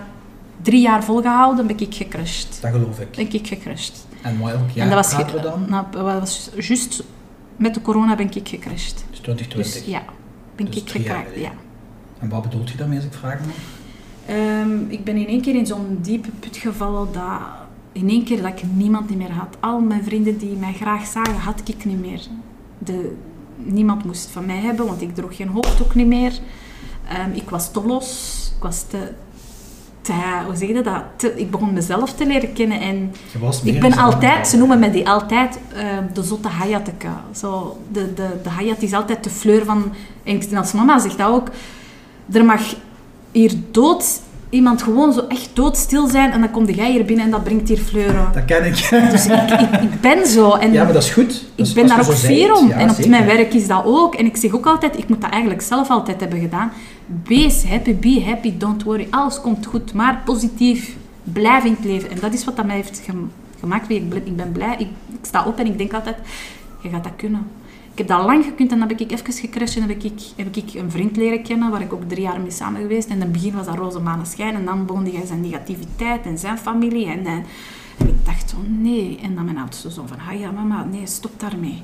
Speaker 2: drie jaar volgehouden, ben ik gecrushed.
Speaker 1: dat geloof ik.
Speaker 2: Ben ik gecrushed.
Speaker 1: En welk jaar
Speaker 2: en dat was,
Speaker 1: praten
Speaker 2: ge-
Speaker 1: we dan?
Speaker 2: nou, dat was juist met de corona ben ik gecrushed.
Speaker 1: Dus 2020.
Speaker 2: Dus ja, ben
Speaker 1: Dus
Speaker 2: ik
Speaker 1: drie jaar
Speaker 2: gekraakt,
Speaker 1: geleden.
Speaker 2: ja.
Speaker 1: En wat bedoelt je daarmee als ik vraag me?
Speaker 2: Ehm, ik ben in één keer in zo'n diepe put gevallen dat in één keer dat ik niemand niet meer had. Al mijn vrienden die mij graag zagen, had ik niet meer. De, niemand moest van mij hebben, want ik droeg geen hoofddoek niet meer. Ehm, ik was te los. Ik was te... te hoe zeg je dat? Te- ik begon mezelf te leren kennen en...
Speaker 1: Je was meer
Speaker 2: Ik ben
Speaker 1: jezelf
Speaker 2: altijd,
Speaker 1: dan-
Speaker 2: ze noemen mij die altijd eh, de zotte Hayateke. Zo, de, de, de Hayat is altijd de fleur van. En ik- en als mama zegt dat ook. Er mag hier dood, iemand gewoon zo echt doodstil zijn. En dan komt jij hier binnen en dat brengt hier fleuren.
Speaker 1: Dat ken ik.
Speaker 2: Dus ik, ik, ik ben zo. En
Speaker 1: ja, maar dat is goed.
Speaker 2: ik ben daar ook fier om. en op mijn
Speaker 1: werk.
Speaker 2: werk is dat ook. En ik zeg ook altijd, ik moet dat eigenlijk zelf altijd hebben gedaan. Wees happy, be happy, don't worry. Alles komt goed, maar positief. Blijf in het leven. En dat is wat dat mij heeft gem- gemaakt. wie Ik ben, ik ben blij. Ik, ik sta op en ik denk altijd, je gaat dat kunnen. Ik heb dat lang gekund en dan heb ik even gecrashed en heb ik, heb ik een vriend leren kennen waar ik ook drie jaar mee samen geweest. En in het begin was dat roze maneschijn en dan begon hij zijn negativiteit en zijn familie. En, en, en ik dacht, oh nee. En dan mijn oudste zoon van, ah ja mama, nee, stop daarmee.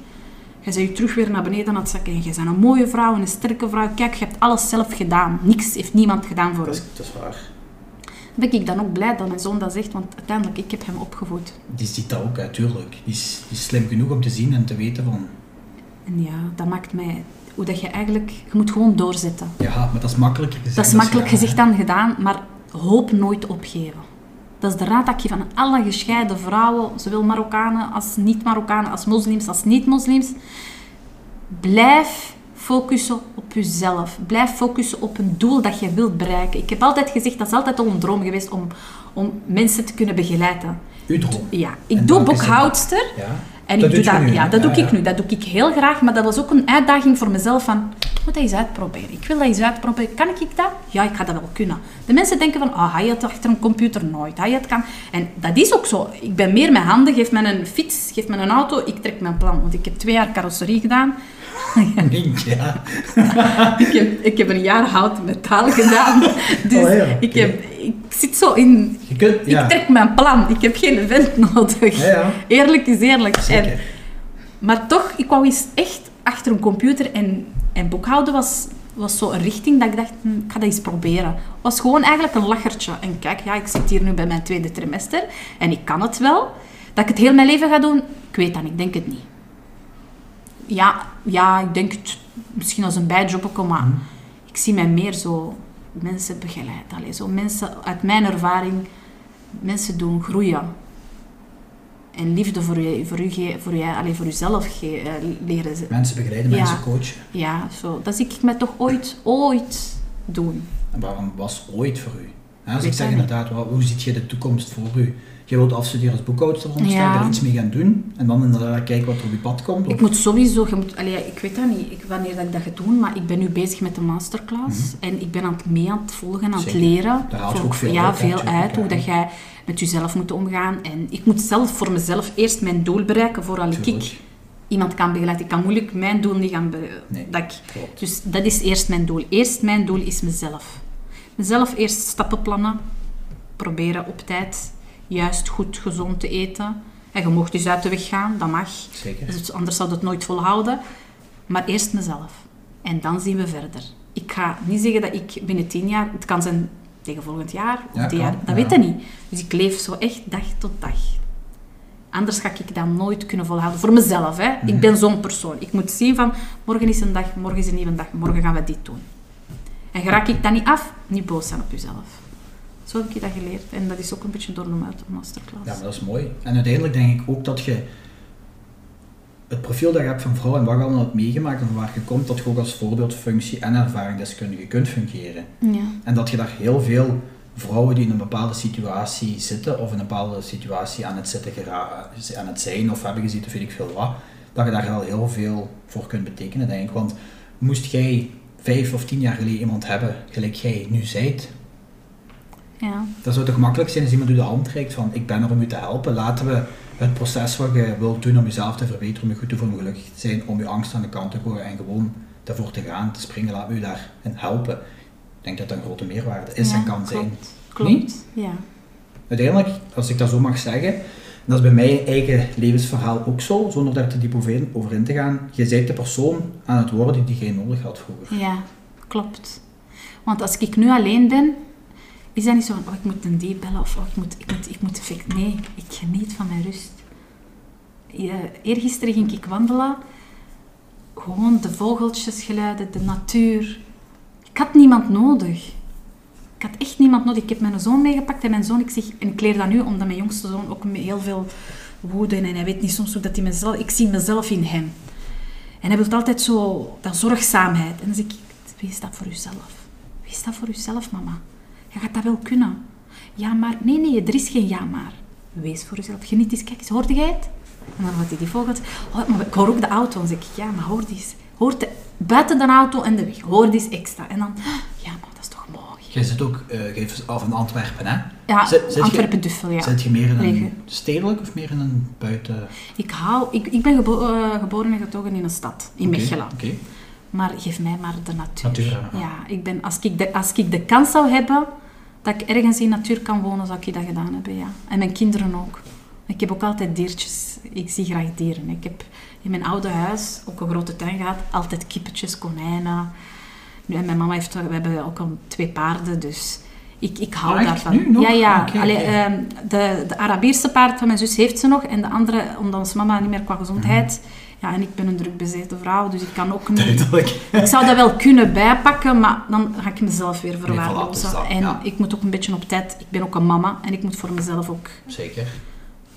Speaker 2: Jij bent je terug weer naar beneden aan het zakken. En jij bent een mooie vrouw en een sterke vrouw. Kijk, je hebt alles zelf gedaan. Niks heeft niemand gedaan voor
Speaker 1: Dat
Speaker 2: ons.
Speaker 1: is, dat is waar.
Speaker 2: Ben ik dan ook blij dat mijn zoon dat zegt, want uiteindelijk, ik heb hem opgevoed.
Speaker 1: Die ziet dat ook, natuurlijk. Die is, die is slim genoeg om te zien en te weten van...
Speaker 2: En ja, dat maakt mij... Hoe dat je eigenlijk... Je moet gewoon doorzetten.
Speaker 1: Ja, maar dat is makkelijker gezegd
Speaker 2: Dat is
Speaker 1: dan
Speaker 2: makkelijk
Speaker 1: gedaan,
Speaker 2: gezegd dan gedaan, maar hoop nooit opgeven. Dat is de raad dat ik geef aan alle gescheiden vrouwen, zowel Marokkanen als niet-Marokkanen, als moslims als niet-moslims. Blijf focussen op jezelf. Blijf focussen op een doel dat je wilt bereiken. Ik heb altijd gezegd, dat is altijd al een droom geweest om, om mensen te kunnen begeleiden.
Speaker 1: hè. Uw droom.
Speaker 2: Ja, ik
Speaker 1: En
Speaker 2: doe
Speaker 1: welke is dat?
Speaker 2: boekhoudster.
Speaker 1: Ja.
Speaker 2: En
Speaker 1: Dat
Speaker 2: ik doe
Speaker 1: doet je
Speaker 2: dat,
Speaker 1: nu,
Speaker 2: ja,
Speaker 1: hè?
Speaker 2: dat doe
Speaker 1: Ja,
Speaker 2: ik
Speaker 1: ja. [LAUGHS]
Speaker 2: nu. Dat doe ik heel graag. Maar dat was ook een uitdaging voor mezelf. Van, ik moet dat eens uitproberen. Ik wil dat eens uitproberen. Kan ik dat? Ja, ik ga dat wel kunnen. De mensen denken van, ah, hij had achter een computer nooit. Hij had kan. En dat is ook zo. Ik ben meer met handen. Geef me een fiets, geef me een auto. Ik trek mijn plan. Want ik heb twee jaar carrosserie gedaan.
Speaker 1: Link, ja.
Speaker 2: Ik heb, ik heb een jaar hout
Speaker 1: [LAUGHS]
Speaker 2: metaal gedaan. Dus
Speaker 1: Oh, ja.
Speaker 2: ik, heb, ik zit zo in...
Speaker 1: Je kunt... Ja.
Speaker 2: Ik trek mijn plan. Ik heb geen event [LAUGHS] nodig.
Speaker 1: Ja, ja.
Speaker 2: Eerlijk is eerlijk. En-
Speaker 1: Zeker.
Speaker 2: maar toch, ik wou eens echt achter een computer en, en boekhouden was, was zo'n richting dat ik dacht, hm, ik ga dat eens proberen. was gewoon eigenlijk een lachertje. En kijk, ja, ik zit hier nu bij mijn tweede trimester en ik kan het wel. Dat ik het heel mijn leven ga doen, ik weet dat niet, ik denk het niet. Ja, ja ik denk het misschien als een bijjob, maar ik zie mij meer zo mensen begeleid. Allee, zo mensen uit mijn ervaring, mensen doen groeien en liefde voor, je, voor, je, ge- voor, je, allee, voor jezelf ge- eh, leren. ze-
Speaker 1: Mensen begeleiden,
Speaker 2: Ja.
Speaker 1: mensen coachen.
Speaker 2: Ja, zo. Dat zie ik mij toch ooit, ooit doen.
Speaker 1: En waarom was ooit voor u? Hè, als
Speaker 2: Weet
Speaker 1: ik
Speaker 2: dat
Speaker 1: zeg
Speaker 2: niet.
Speaker 1: inderdaad, wa- hoe ziet je de toekomst voor u? Je wilt afstuderen als boekhoudster, veronderstel,
Speaker 2: Ja.
Speaker 1: er iets mee gaan doen en dan inderdaad kijken wat er op je pad komt.
Speaker 2: Ik
Speaker 1: Of,
Speaker 2: moet sowieso, je moet, allee, ik weet dat niet ik, wanneer dat ik dat ga doen, maar ik ben nu bezig met de masterclass en ik ben aan het mee aan het volgen, aan het
Speaker 1: Mhm. Zeker.
Speaker 2: leren.
Speaker 1: Daar haalt je
Speaker 2: Voor-
Speaker 1: ook veel
Speaker 2: ja,
Speaker 1: uit, hè,
Speaker 2: veel
Speaker 1: natuurlijk,
Speaker 2: uit, hoe
Speaker 1: ja.
Speaker 2: dat jij met jezelf moet omgaan. En ik moet zelf voor mezelf eerst mijn doel bereiken vooral ik
Speaker 1: Tuurlijk.
Speaker 2: iemand kan begeleiden. Ik kan moeilijk mijn doel niet gaan be-
Speaker 1: Nee.
Speaker 2: dat ik-
Speaker 1: Klopt.
Speaker 2: Dus dat is eerst mijn doel. Eerst mijn doel is mezelf. Mezelf eerst stappen plannen, proberen op tijd juist goed gezond te eten. En je mocht dus uit de weg gaan, dat mag.
Speaker 1: Zeker.
Speaker 2: Dus anders zou dat nooit volhouden. Maar eerst mezelf. En dan zien we verder. Ik ga niet zeggen dat ik binnen tien jaar... Het kan zijn tegen volgend jaar of
Speaker 1: Ja,
Speaker 2: dit
Speaker 1: kan,
Speaker 2: jaar. Dat
Speaker 1: ja.
Speaker 2: weet ik niet. Dus ik leef zo echt dag tot dag. Anders ga ik dat nooit kunnen volhouden. Voor mezelf, hè.
Speaker 1: Mhm.
Speaker 2: Ik ben zo'n persoon. Ik moet zien van... Morgen is een dag, morgen is een nieuwe dag. Morgen gaan we dit doen. En raak ik dat niet af, niet boos zijn op jezelf. Zo heb ik dat geleerd. En dat is ook een beetje door de ma- masterclass.
Speaker 1: Ja, maar dat is mooi. En uiteindelijk denk ik ook dat je het profiel dat je hebt van vrouw en wat je allemaal hebt meegemaakt en van waar je komt, dat je ook als voorbeeldfunctie en ervaringsdeskundige kunt fungeren.
Speaker 2: ja.
Speaker 1: En dat je daar heel veel vrouwen die in een bepaalde situatie zitten of in een bepaalde situatie aan het, zitten gera- aan het zijn of hebben gezeten, of weet ik veel wat, dat je daar wel heel veel voor kunt betekenen, denk ik. Want moest jij vijf of tien jaar geleden iemand hebben, gelijk jij nu zijt,
Speaker 2: ja.
Speaker 1: dat zou toch makkelijk zijn als iemand u de hand reikt van ik ben er om u te helpen. Laten we het proces wat je wilt doen om jezelf te verbeteren, om je goed te voelen, om gelukkig te zijn, om je angst aan de kant te gooien en gewoon daarvoor te gaan, te springen, laten we u daarin helpen. Ik denk dat dat een grote meerwaarde is
Speaker 2: Ja,
Speaker 1: en kan zijn.
Speaker 2: klopt. Klopt, ja.
Speaker 1: Uiteindelijk, als ik dat zo mag zeggen, en dat is bij mijn eigen levensverhaal ook zo, zonder daar te diep over in- over in te gaan, je bent de persoon aan het worden die jij nodig had vroeger.
Speaker 2: Ja, klopt. Want als ik nu alleen ben, is dat niet zo van, oh, ik moet een die bellen of oh, ik moet, ik moet, ik moet effect. Nee, ik geniet van mijn rust. Ja, eergisteren ging ik wandelen. Gewoon de vogeltjesgeluiden, de natuur. Ik had niemand nodig. Ik had echt niemand nodig. Ik heb mijn zoon meegepakt en mijn zoon, ik zeg, en ik leer dat nu omdat mijn jongste zoon ook met heel veel woede en hij weet niet soms hoe dat hij mezelf, ik zie mezelf in hem. En hij wil altijd zo, dat zorgzaamheid. En dan zeg ik, wees dat voor uzelf. Wees dat voor uzelf, mama. Je gaat dat wel kunnen. Ja, maar. Nee, nee, er is geen ja, maar. Wees voor uzelf. Geniet eens, kijk eens, hoorde jij het? En dan had hij die vogels. Oh, maar ik hoor ook de auto. En dan zeg ik, ja, maar hoor die eens. Hoort de, buiten de auto en de weg. Hoor die eens extra. En dan, ja, maar dat is toch mooi.
Speaker 1: Jij zit ook, eh, jij is af in Antwerpen, hè?
Speaker 2: Ja,
Speaker 1: Zit- zit je-
Speaker 2: Antwerpen-Duffel, ja.
Speaker 1: Zit je meer in
Speaker 2: Liggen.
Speaker 1: een stedelijk of meer in een buiten...
Speaker 2: Ik, hou, ik, ik ben gebo- eh, geboren en getogen in een stad, in
Speaker 1: Oké,
Speaker 2: Mechelen. Mm.
Speaker 1: Oké.
Speaker 2: Maar geef mij maar de natuur.
Speaker 1: Natuur, ja.
Speaker 2: ja, ik ben, als, ik de, als ik de kans zou hebben dat ik ergens in natuur kan wonen, zou ik dat gedaan hebben. Ja. En mijn kinderen ook. Ik heb ook altijd diertjes. Ik zie graag dieren. Ik heb in mijn oude huis ook een grote tuin gehad. Altijd kippetjes, konijnen. Nu, en mijn mama heeft, we hebben ook al twee paarden, dus ik, ik hou
Speaker 1: Ah, echt?
Speaker 2: daarvan.
Speaker 1: Nu nog?
Speaker 2: Ja, ja.
Speaker 1: Oké,
Speaker 2: Allee,
Speaker 1: oké.
Speaker 2: ehm, de, de Arabierse paard van mijn zus heeft ze nog. En de andere, omdat onze mama niet meer qua gezondheid...
Speaker 1: Mhm.
Speaker 2: Ja, en ik ben een drukbezeten vrouw, dus ik
Speaker 1: [LAUGHS]
Speaker 2: kan ook niet...
Speaker 1: Duidelijk.
Speaker 2: Ik zou dat wel kunnen bijpakken, maar dan ga ik mezelf weer
Speaker 1: voilà, dus
Speaker 2: verwaarlozen.
Speaker 1: dat,
Speaker 2: en
Speaker 1: ja.
Speaker 2: ik moet ook een beetje op tijd... Ik ben ook een mama en ik moet voor mezelf ook
Speaker 1: Zeker.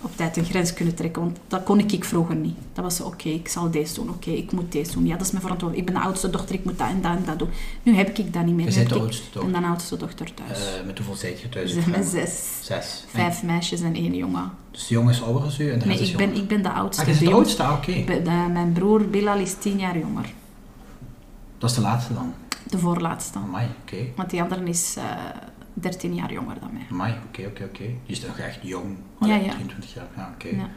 Speaker 2: op tijd een grens kunnen trekken. Want dat kon ik, ik vroeger niet. Dat was zo, oké, ik zal deze doen. Oké, ik moet deze doen. Ja, dat is mijn verantwoordelijkheid. Ik ben de oudste dochter, ik moet dat en dat en dat doen. Nu heb ik dat niet meer.
Speaker 1: Je
Speaker 2: Nu
Speaker 1: bent
Speaker 2: heb
Speaker 1: de
Speaker 2: ik-
Speaker 1: oudste
Speaker 2: Ik ben
Speaker 1: dochter.
Speaker 2: dan oudste dochter thuis.
Speaker 1: Eh, met hoeveel zijt je thuis?
Speaker 2: Dus zijn met zes.
Speaker 1: Zes.
Speaker 2: Vijf meisjes en één jongen.
Speaker 1: Dus de jongen is ouder dan u en de
Speaker 2: Nee,
Speaker 1: rest is
Speaker 2: ik ben,
Speaker 1: jonger.
Speaker 2: ik ben de oudste.
Speaker 1: Ah, je
Speaker 2: De
Speaker 1: bent de
Speaker 2: jong-
Speaker 1: oudste? Ah, Oké.
Speaker 2: ik ben- de- mijn broer Bilal is tien jaar jonger.
Speaker 1: Dat is de laatste dan.
Speaker 2: De voorlaatste.
Speaker 1: Amai, oké.
Speaker 2: Want die andere is eh, dertien jaar jonger dan mij.
Speaker 1: Amai, oké, oké, oké. Die is nog echt jong.
Speaker 2: Ja,
Speaker 1: Allee,
Speaker 2: ja.
Speaker 1: 23 jaar. Ja, oké.
Speaker 2: Ja.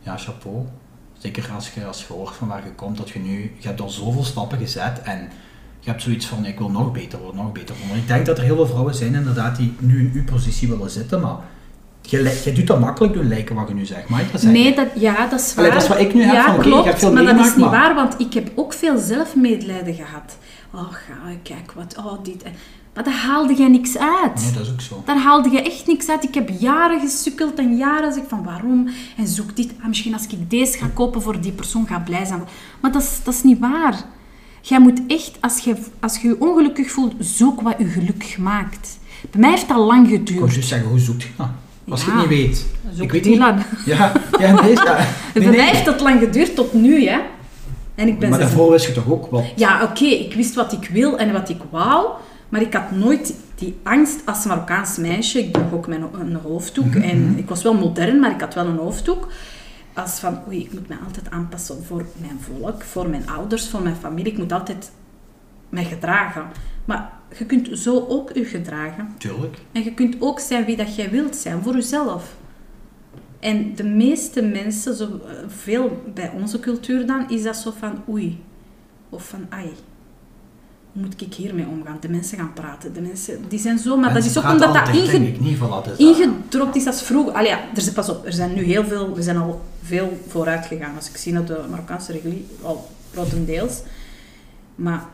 Speaker 1: Ja. chapeau. Zeker als je, als je hoort van waar je komt, dat je nu... Je hebt al zoveel stappen gezet en je hebt zoiets van, ik wil nog beter worden, nog beter worden. Want ik denk dat er heel veel vrouwen zijn inderdaad die nu in uw positie willen zitten, maar... Je, li- je doet dat makkelijk doen lijken wat je nu zegt, maar ik dat zeggen?
Speaker 2: Nee, dat, ja, dat is waar.
Speaker 1: Allee, dat is wat ik nu heb
Speaker 2: ja,
Speaker 1: van, oké, ik
Speaker 2: klopt,
Speaker 1: heb veel
Speaker 2: maar dat is
Speaker 1: meegemaakt,
Speaker 2: niet
Speaker 1: maar-
Speaker 2: waar, want ik heb ook veel zelfmedelijden gehad. Oh, ga, kijk wat, oh, dit. en- Maar daar haalde jij niks uit.
Speaker 1: Oh, Nee, dat is ook zo.
Speaker 2: Daar haalde je echt niks uit. Ik heb jaren gesukkeld en jaren zeg van waarom en zoek dit. Ah, misschien als ik deze ga kopen voor die persoon ga ik blij zijn. Maar dat is, dat is niet waar. Jij moet echt, als je, als je je ongelukkig voelt, zoek wat je gelukkig maakt. Bij mij heeft dat lang
Speaker 1: Ik wou
Speaker 2: geduurd.
Speaker 1: juist zeggen, hoe zoekt [LAUGHS] je dat? Als je
Speaker 2: Ja.
Speaker 1: het niet weet.
Speaker 2: Zoek
Speaker 1: ik weet
Speaker 2: die
Speaker 1: niet.
Speaker 2: dan.
Speaker 1: Ja, ja,
Speaker 2: [LAUGHS]
Speaker 1: nee, ja. Nee,
Speaker 2: Bij
Speaker 1: nee.
Speaker 2: mij heeft dat lang geduurd tot nu, hè. En ik ben
Speaker 1: Maar
Speaker 2: zes-
Speaker 1: daarvoor wist je toch ook wat
Speaker 2: Ja, oké, ik wist wat ik wil en wat ik wou.
Speaker 3: Maar ik had nooit die angst als Marokkaans meisje. Ik droeg ook mijn, een hoofddoek.
Speaker 1: Mhm.
Speaker 3: En ik was wel modern, maar ik had wel een hoofddoek. Als van, oei, ik moet mij altijd aanpassen voor mijn volk, voor mijn ouders, voor mijn familie. Ik moet altijd mij gedragen. Maar je kunt zo ook je gedragen.
Speaker 1: Tuurlijk.
Speaker 3: En je kunt ook zijn wie dat jij wilt zijn, voor jezelf. En de meeste mensen, zo eh, veel bij onze cultuur dan, is dat zo van oei. Of van ai. Hoe moet ik hiermee omgaan? De mensen gaan praten. De mensen, die zijn zo... Maar
Speaker 1: Mensen
Speaker 3: dat is ook
Speaker 1: praten
Speaker 3: omdat dat
Speaker 1: altijd,
Speaker 3: inge-
Speaker 1: denk ik niet van dat is dat.
Speaker 3: ingedropt is als vroeger. Allee, ja, er, zijn- pas op, er zijn nu heel veel... We zijn al veel vooruit gegaan. Als ik zie dat de Marokkaanse regulie al grotendeels... Maar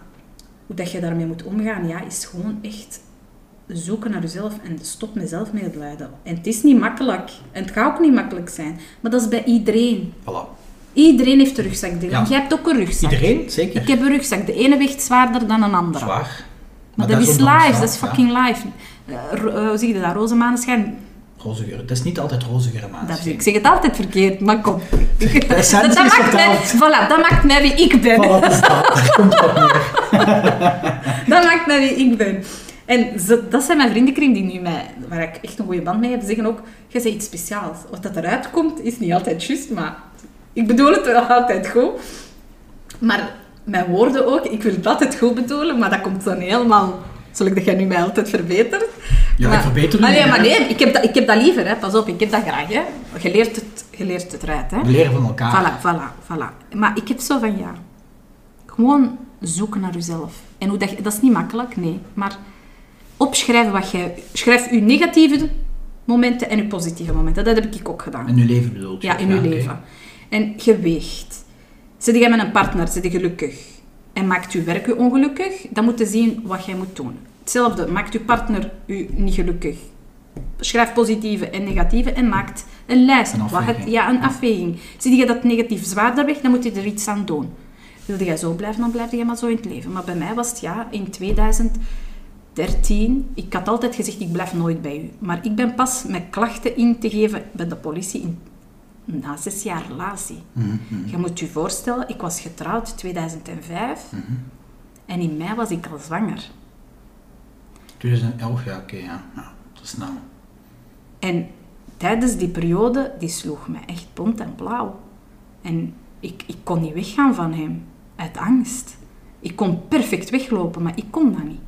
Speaker 3: hoe dat je daarmee moet omgaan, ja, is gewoon echt zoeken naar jezelf en stop met zelfmedelijden. En het is niet makkelijk. En het gaat ook niet makkelijk zijn. Maar dat is bij iedereen.
Speaker 1: Voilà.
Speaker 3: Iedereen heeft een rugzak, Dylan.
Speaker 1: Ja.
Speaker 3: Jij hebt ook een rugzak.
Speaker 1: Iedereen, zeker.
Speaker 2: Ik heb een rugzak. De ene weegt zwaarder dan een andere.
Speaker 1: Zwaar.
Speaker 2: Maar, dat, is live, dat is fucking live. Eh, ro- eh, hoe zeg je dat? Roze maneschijn.
Speaker 1: Roze geur. Het is niet altijd roze geur, maar
Speaker 2: Dat,
Speaker 1: het is-
Speaker 2: ik zeg het altijd verkeerd,
Speaker 1: [LAUGHS]
Speaker 2: maar kom.
Speaker 1: De essentie Ah, is
Speaker 2: maakt mij,
Speaker 1: vertaald.
Speaker 2: voilà, dat maakt mij wie ik ben.
Speaker 1: Voilà, dat is dat.
Speaker 2: [LAUGHS]
Speaker 1: Daar komt het op neer.
Speaker 3: [LAUGHS] Dat maakt mij wie ik ben. En ze- dat zijn mijn vriendenkring die nu mij, waar ik echt een goede band mee heb, zeggen ook, jij bent iets speciaals. Wat dat eruit komt, is niet altijd juist, maar ik bedoel het wel altijd goed. Maar mijn woorden ook, ik wil het altijd goed bedoelen, maar dat komt dan helemaal... Zoals dat jij nu mij altijd verbetert.
Speaker 1: Ja, ik verbeter u
Speaker 3: maar nee,
Speaker 1: niet,
Speaker 3: maar
Speaker 1: hè.
Speaker 3: nee, ik heb dat, ik heb dat liever, hè. pas op, ik heb dat graag. Hè. Je, leert het, je leert het eruit. Hè.
Speaker 1: We leren van elkaar.
Speaker 2: Voilà, voilà, voilà. Maar ik heb zo van ja. Gewoon zoeken naar jezelf. En hoe dat, je- dat is niet makkelijk, nee. Maar opschrijven wat jij. Schrijf uw negatieve momenten en uw positieve momenten. Dat heb ik ook gedaan.
Speaker 1: In uw leven bedoeld.
Speaker 2: Ja, in uw
Speaker 1: oké.
Speaker 2: leven. En geweegd. Zit jij met een partner, zit je gelukkig en maakt uw werk u ongelukkig, dan moet je zien wat jij moet doen. Hetzelfde, maakt uw partner u niet gelukkig. Schrijf positieve en negatieve en maakt een lijst.
Speaker 1: Een
Speaker 2: wat het,
Speaker 1: afweging.
Speaker 2: ja, een afweging. Zie je dat negatief zwaarder weg, dan moet je er iets aan doen. Wilde jij zo blijven, dan blijf je maar zo in het leven. Maar bij mij was het ja, in 2013. Ik had altijd gezegd, ik blijf nooit bij u. Maar ik ben pas met klachten in te geven bij de politie in na zes jaar relatie.
Speaker 1: Mhm,
Speaker 2: Je moet je voorstellen, ik was getrouwd 2005
Speaker 1: Mhm.
Speaker 2: en in mei was ik al zwanger.
Speaker 1: 2011, ja, oké, ja. ja. Dat is nou.
Speaker 2: En tijdens die periode, die sloeg mij echt bont en blauw. En ik, ik kon niet weggaan van hem, uit angst. Ik kon perfect weglopen, maar ik kon dat niet.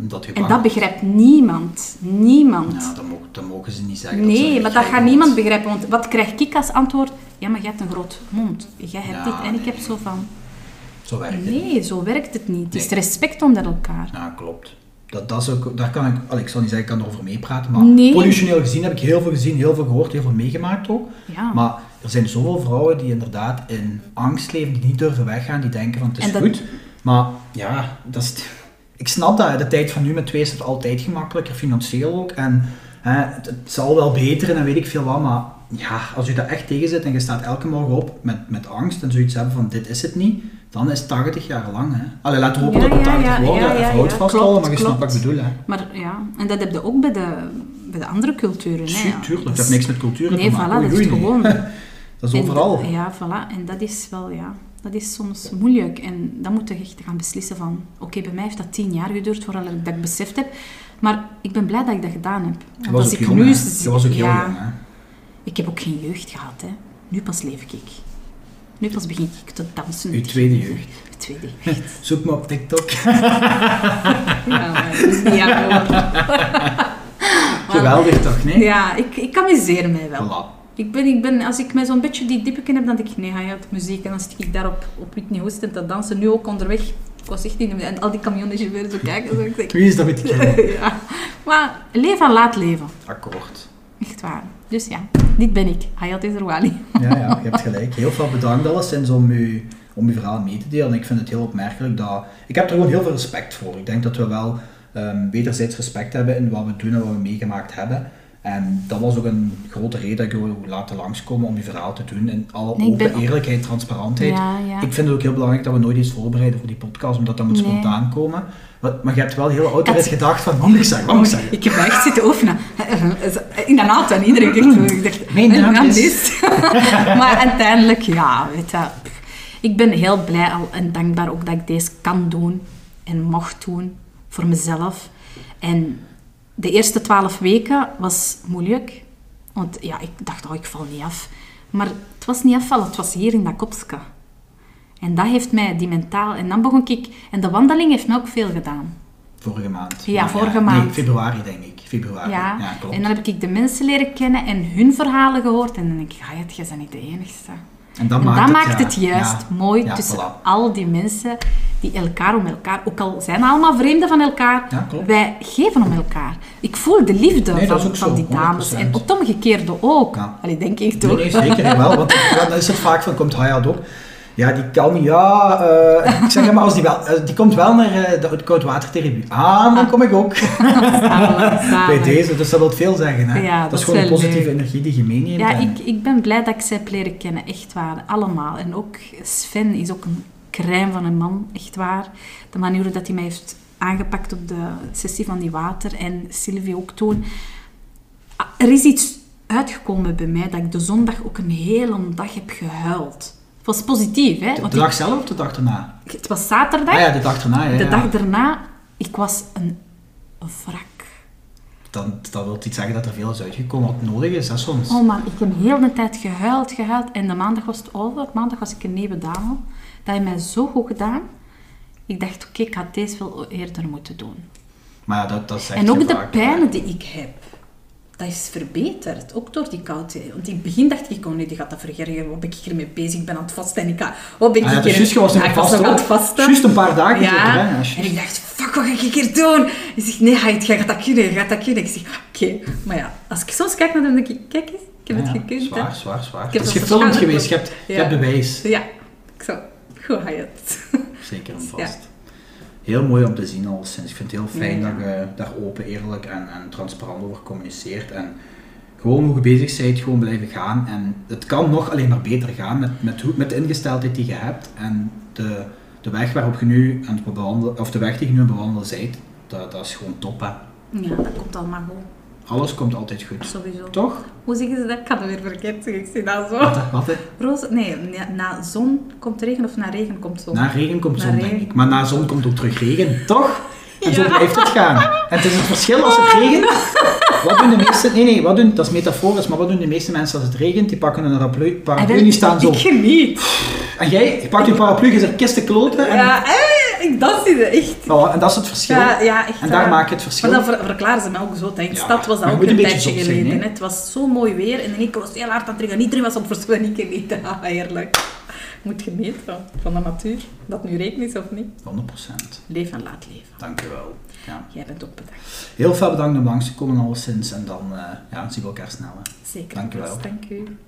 Speaker 1: Dat je
Speaker 2: En
Speaker 1: bang
Speaker 2: dat
Speaker 1: bent.
Speaker 2: begrijpt niemand. Niemand.
Speaker 1: Ja, dat mogen, dat mogen ze niet zeggen. ze
Speaker 2: Nee, maar dat gaat
Speaker 1: begrijpen,
Speaker 2: niemand
Speaker 1: want-
Speaker 2: begrijpen. Want wat krijg ik als antwoord? Ja, maar jij hebt een groot mond. Jij hebt
Speaker 1: Ja,
Speaker 2: dit. En ik
Speaker 1: nee.
Speaker 2: heb zo van...
Speaker 1: Zo werkt het.
Speaker 2: Nee, zo werkt het niet. Het is
Speaker 1: Nee.
Speaker 2: respect onder elkaar.
Speaker 1: Ja, klopt. Dat, dat is ook, daar kan ik, al, ik zal niet zeggen, ik kan erover meepraten, maar
Speaker 2: Nee.
Speaker 1: positioneel gezien heb ik heel veel gezien, heel veel gehoord, heel veel meegemaakt ook.
Speaker 2: Ja.
Speaker 1: Maar er zijn zoveel vrouwen die inderdaad in angst leven, die niet durven weggaan, die denken van het is
Speaker 2: En dat-
Speaker 1: goed. Maar ja, dat is, t- ik snap dat. hè. De tijd van nu met twee is het altijd gemakkelijker, financieel ook. En hè, het, het zal wel beteren en weet ik veel wat, maar ja, als u daar echt tegen zit en je staat elke morgen op met, met angst en zoiets hebben van dit is het niet, dan is 80 jaar lang. Hè. Allee, laten we hopen
Speaker 2: Ja,
Speaker 1: dat het
Speaker 2: ja,
Speaker 1: 80
Speaker 2: ja,
Speaker 1: wordt,
Speaker 2: ja,
Speaker 1: ja,
Speaker 2: ja,
Speaker 1: even hout
Speaker 2: ja,
Speaker 1: vasthouden,
Speaker 2: klopt,
Speaker 1: maar je snapt wat ik
Speaker 2: klopt.
Speaker 1: bedoel. Hè.
Speaker 2: Maar ja, en dat heb je ook bij de, bij de andere culturen. Hè.
Speaker 1: Tuurlijk, dat
Speaker 2: Dus-
Speaker 1: heeft niks met cultuur
Speaker 2: Nee,
Speaker 1: te maken.
Speaker 2: voilà,
Speaker 1: Oei,
Speaker 2: dat is
Speaker 1: oei, nee.
Speaker 2: gewoon.
Speaker 1: [LAUGHS] Dat is
Speaker 2: En
Speaker 1: overal.
Speaker 2: dat- ja, voilà. En dat is wel, ja, dat is soms moeilijk. En dan moet je echt gaan beslissen van... Oké, bij mij heeft dat tien jaar geduurd voordat ik dat beseft heb. Maar ik ben blij dat ik dat gedaan heb. Want
Speaker 1: Je was
Speaker 2: als
Speaker 1: ook
Speaker 2: ik
Speaker 1: jong,
Speaker 2: nu
Speaker 1: hè.
Speaker 2: z-
Speaker 1: Je was ook heel
Speaker 2: ja,
Speaker 1: jong, hè.
Speaker 2: Ik heb ook geen jeugd gehad, hè. Nu pas leef ik. Nu pas begin ik te dansen.
Speaker 1: Uw tweede jeugd.
Speaker 2: Uw tweede
Speaker 1: [LAUGHS]
Speaker 2: jeugd.
Speaker 1: Zoek me op TikTok.
Speaker 2: Ja, maar dat is niet aan de orde.
Speaker 1: Geweldig toch, nee?
Speaker 2: Ja, ik, ik amuseer mij wel.
Speaker 1: Voilà.
Speaker 2: Ik ben, ik ben, als ik mij zo'n beetje die diepeken heb, dan denk ik, nee, ga je op muziek. En dan zit ik daar op, op Whitney Houston te dansen. Nu ook onderweg. Ik was echt in de... En al die camionechauffeurs zo kijken. Zo, ik [LAUGHS] denk,
Speaker 1: Wie is dat met die kinderen?
Speaker 2: ja. Maar leven en laat leven.
Speaker 1: Akkoord.
Speaker 2: Echt waar. Dus ja, dit ben ik. Hayat Ezerwali.
Speaker 1: Ja, ja, je hebt gelijk. Heel veel bedankt alleszins om uw, om uw verhaal mee te delen. Ik vind het heel opmerkelijk dat... Ik heb er gewoon heel veel respect voor. Ik denk dat we wel ehm, wederzijds respect hebben in wat we doen en wat we meegemaakt hebben. En dat was ook een grote reden dat ik u wou laten langskomen om uw verhaal te doen. In alle
Speaker 2: Nee, ik
Speaker 1: open
Speaker 2: ben ook-
Speaker 1: eerlijkheid, transparantheid.
Speaker 2: Ja, ja.
Speaker 1: Ik vind het ook heel belangrijk dat we nooit iets voorbereiden voor die podcast, omdat dat moet
Speaker 2: Nee.
Speaker 1: spontaan komen. Wat- Maar je hebt wel heel autorit
Speaker 2: had-
Speaker 1: gedacht van, wat moet ik zeggen, wat moet Oh, ik zeggen?
Speaker 2: Oh, Ik heb echt zitten oefenen. Eh, In de auto en iedereen dacht, zo, ik dacht
Speaker 1: Mijn
Speaker 2: "Mijn
Speaker 1: naam
Speaker 2: naam
Speaker 1: is."
Speaker 2: is. [LAUGHS] maar uiteindelijk, ja, weet je, pff. ik ben heel blij al en dankbaar ook dat ik deze kan doen en mocht doen. voor mezelf. En de eerste twaalf weken was moeilijk. Want ja, ik dacht, oh, ik val niet af. Maar het was niet afvallen, het was hier in dat kopske. En dat heeft mij, die mentaal... En dan begon ik... En de wandeling heeft mij ook veel gedaan.
Speaker 1: Vorige maand.
Speaker 2: Ja, vorige maand.
Speaker 1: Nee, februari denk ik. Februari.
Speaker 2: Ja,
Speaker 1: Ah, Ja, klopt.
Speaker 2: en dan heb ik de mensen leren kennen en hun verhalen gehoord. En dan denk ik, ah, jij bent niet de enigste.
Speaker 1: En dat
Speaker 2: en
Speaker 1: maakt,
Speaker 2: dat
Speaker 1: het,
Speaker 2: maakt
Speaker 1: ja,
Speaker 2: het juist
Speaker 1: ja,
Speaker 2: mooi
Speaker 1: ja,
Speaker 2: tussen [LAUGHS]
Speaker 1: voilà.
Speaker 2: al die mensen die elkaar om elkaar, ook al zijn we allemaal vreemden van elkaar,
Speaker 1: Ja, klopt.
Speaker 2: wij geven om elkaar. Ik voel de liefde
Speaker 1: Nee, dat is
Speaker 2: van,
Speaker 1: ook
Speaker 2: van
Speaker 1: zo,
Speaker 2: die dames.
Speaker 1: 100%.
Speaker 2: En op het omgekeerde ook.
Speaker 1: Ja.
Speaker 2: Allee, denk ik
Speaker 1: Nee,
Speaker 2: toch?
Speaker 1: nee, zeker wel. Want dan is het vaak van, komt Hayat op? Ja, die kan niet. Ja, eh, ik zeg maar, als die, wel, eh, die komt wel naar eh, de koudwatertherapie. Ah, dan kom ik ook.
Speaker 2: [LAUGHS] Samen, samen.
Speaker 1: Bij deze, dus dat wil veel zeggen. Hè?
Speaker 2: Ja,
Speaker 1: dat, is
Speaker 2: dat is
Speaker 1: gewoon een
Speaker 2: wel
Speaker 1: positieve
Speaker 2: leuk.
Speaker 1: energie die je meeneemt.
Speaker 2: Ja,
Speaker 1: en-
Speaker 2: ik, ik ben blij dat ik ze heb leren kennen, echt waar. Allemaal. En ook Sven is ook een crème van een man, echt waar. De manier hoe dat hij mij heeft aangepakt op de sessie van die water en Sylvie ook toen. Ah, Er is iets uitgekomen bij mij dat ik de zondag ook een hele dag heb gehuild. Het was positief, hè?
Speaker 1: de
Speaker 2: Want
Speaker 1: dag zelf of de dag erna?
Speaker 2: ik- het was zaterdag.
Speaker 1: Ah ja, de dag erna. Ja,
Speaker 2: De
Speaker 1: ja.
Speaker 2: dag daarna, ik was een wrak.
Speaker 1: Dan, dat wil iets zeggen dat er veel is uitgekomen wat nodig is, hè, soms.
Speaker 2: Oh man, ik heb heel de tijd gehuild, gehuild. En de maandag was het over. Maandag was ik een nieuwe dame. Dat heeft mij zo goed gedaan. Ik dacht, oké, ik had deze veel eerder moeten doen.
Speaker 1: Maar ja, dat, dat is echt
Speaker 2: en
Speaker 1: heel
Speaker 2: ook de
Speaker 1: vaak, hè.
Speaker 2: pijnen die...
Speaker 3: die ik heb, dat is verbeterd. Ook door die koude. Want in het begin dacht ik, oh nee, die gaat dat vergergen. Wat ben ik hiermee bezig? Ik ben aan het vasten en ik ga... Wat ben ik
Speaker 1: Ah, ja,
Speaker 3: hier...
Speaker 1: dus juist, je was nog
Speaker 3: Ja,
Speaker 1: aan
Speaker 3: ik was
Speaker 1: vasten
Speaker 3: nog aan
Speaker 1: ook.
Speaker 3: het vasten.
Speaker 1: Juist een paar dagen
Speaker 3: ja.
Speaker 1: zeker, hè? Ja, juist.
Speaker 3: en ik dacht, fuck, wat ga ik hier doen? Hij zegt, nee, hij jij gaat dat kunnen, je gaat dat kunnen. Ik zeg, oké. Maar ja, als ik soms kijk naar hem, denk ik, kijk eens, ik heb
Speaker 1: Ah Ja,
Speaker 3: het
Speaker 1: ja,
Speaker 3: gekund. hè.
Speaker 1: Zwaar, zwaar, zwaar.
Speaker 3: Ik heb
Speaker 1: Het is
Speaker 3: dat
Speaker 1: gefilmd
Speaker 3: verstaan.
Speaker 1: geweest, je hebt, je
Speaker 3: Ja.
Speaker 1: hebt bewijs.
Speaker 3: Dus Ja, ik zo, goed, Hayat.
Speaker 1: Zeker en
Speaker 3: Ja.
Speaker 1: vast. Heel mooi om te zien al sinds. Ik vind het heel fijn
Speaker 3: Ja.
Speaker 1: dat je daar open, eerlijk en, en transparant over communiceert. En gewoon hoe je bezig bent, gewoon blijven gaan. En het kan nog alleen maar beter gaan met, met, hoe- met de ingesteldheid die je hebt. En de, de weg waarop je nu aan het bewandelen, of de weg die je nu aan het bewandelen bent, dat, dat is gewoon top. Hè.
Speaker 3: Ja, dat komt allemaal goed,
Speaker 1: Alles komt altijd goed.
Speaker 3: sowieso.
Speaker 1: Toch?
Speaker 3: Hoe zeggen ze dat? Ik had het weer verkeerd zeggen, ik zie dat zo.
Speaker 1: Wat, hè? wat hè?
Speaker 3: Roze, nee, na, na zon komt regen of na regen komt zon.
Speaker 1: Na regen komt
Speaker 3: Na
Speaker 1: zon, denk
Speaker 3: regen.
Speaker 1: ik. Maar na zon komt ook terug regen, toch? En zo
Speaker 3: Ja.
Speaker 1: blijft het gaan. En het is het verschil als het regent. Wat doen de meeste... Nee, nee, wat doen, dat is metaforisch, maar wat doen de meeste mensen als het regent? Die pakken een paraplu, paraplu
Speaker 2: Ah,
Speaker 1: die staan zo.
Speaker 3: Ik geniet.
Speaker 1: En jij, je pakt je paraplu, je zegt kisten kloten. [LAUGHS] En,
Speaker 3: Ja, eh, ik dans die echt.
Speaker 1: Voilà, en dat is het verschil.
Speaker 3: Ja, ja, echt.
Speaker 1: en daar
Speaker 3: waar.
Speaker 1: maak je het verschil.
Speaker 3: Maar dat ver- verklaren ze mij ook zo. In de
Speaker 1: Ja,
Speaker 3: stad was dat
Speaker 1: maar je
Speaker 3: ook
Speaker 1: moet
Speaker 3: een
Speaker 1: een beetje
Speaker 3: tijdje
Speaker 1: zot zijn,
Speaker 3: geleden.
Speaker 1: hè.
Speaker 3: hè. Het was zo mooi weer en ik was heel hard aan het rennen. Iedereen was aan het verschillen en ik [LAUGHS] geniet. Ah, heerlijk. Moet genieten van, van de natuur. Dat nu regen is of niet.
Speaker 1: 100%.
Speaker 3: Leef en laat leven.
Speaker 1: Dankjewel. Ja.
Speaker 3: Jij bent ook bedankt.
Speaker 1: Heel veel bedankt om langs te komen alleszins. En dan eh, ja, zien we elkaar snel. hè.
Speaker 3: Zeker.
Speaker 1: Dankjewel.
Speaker 3: Dank u.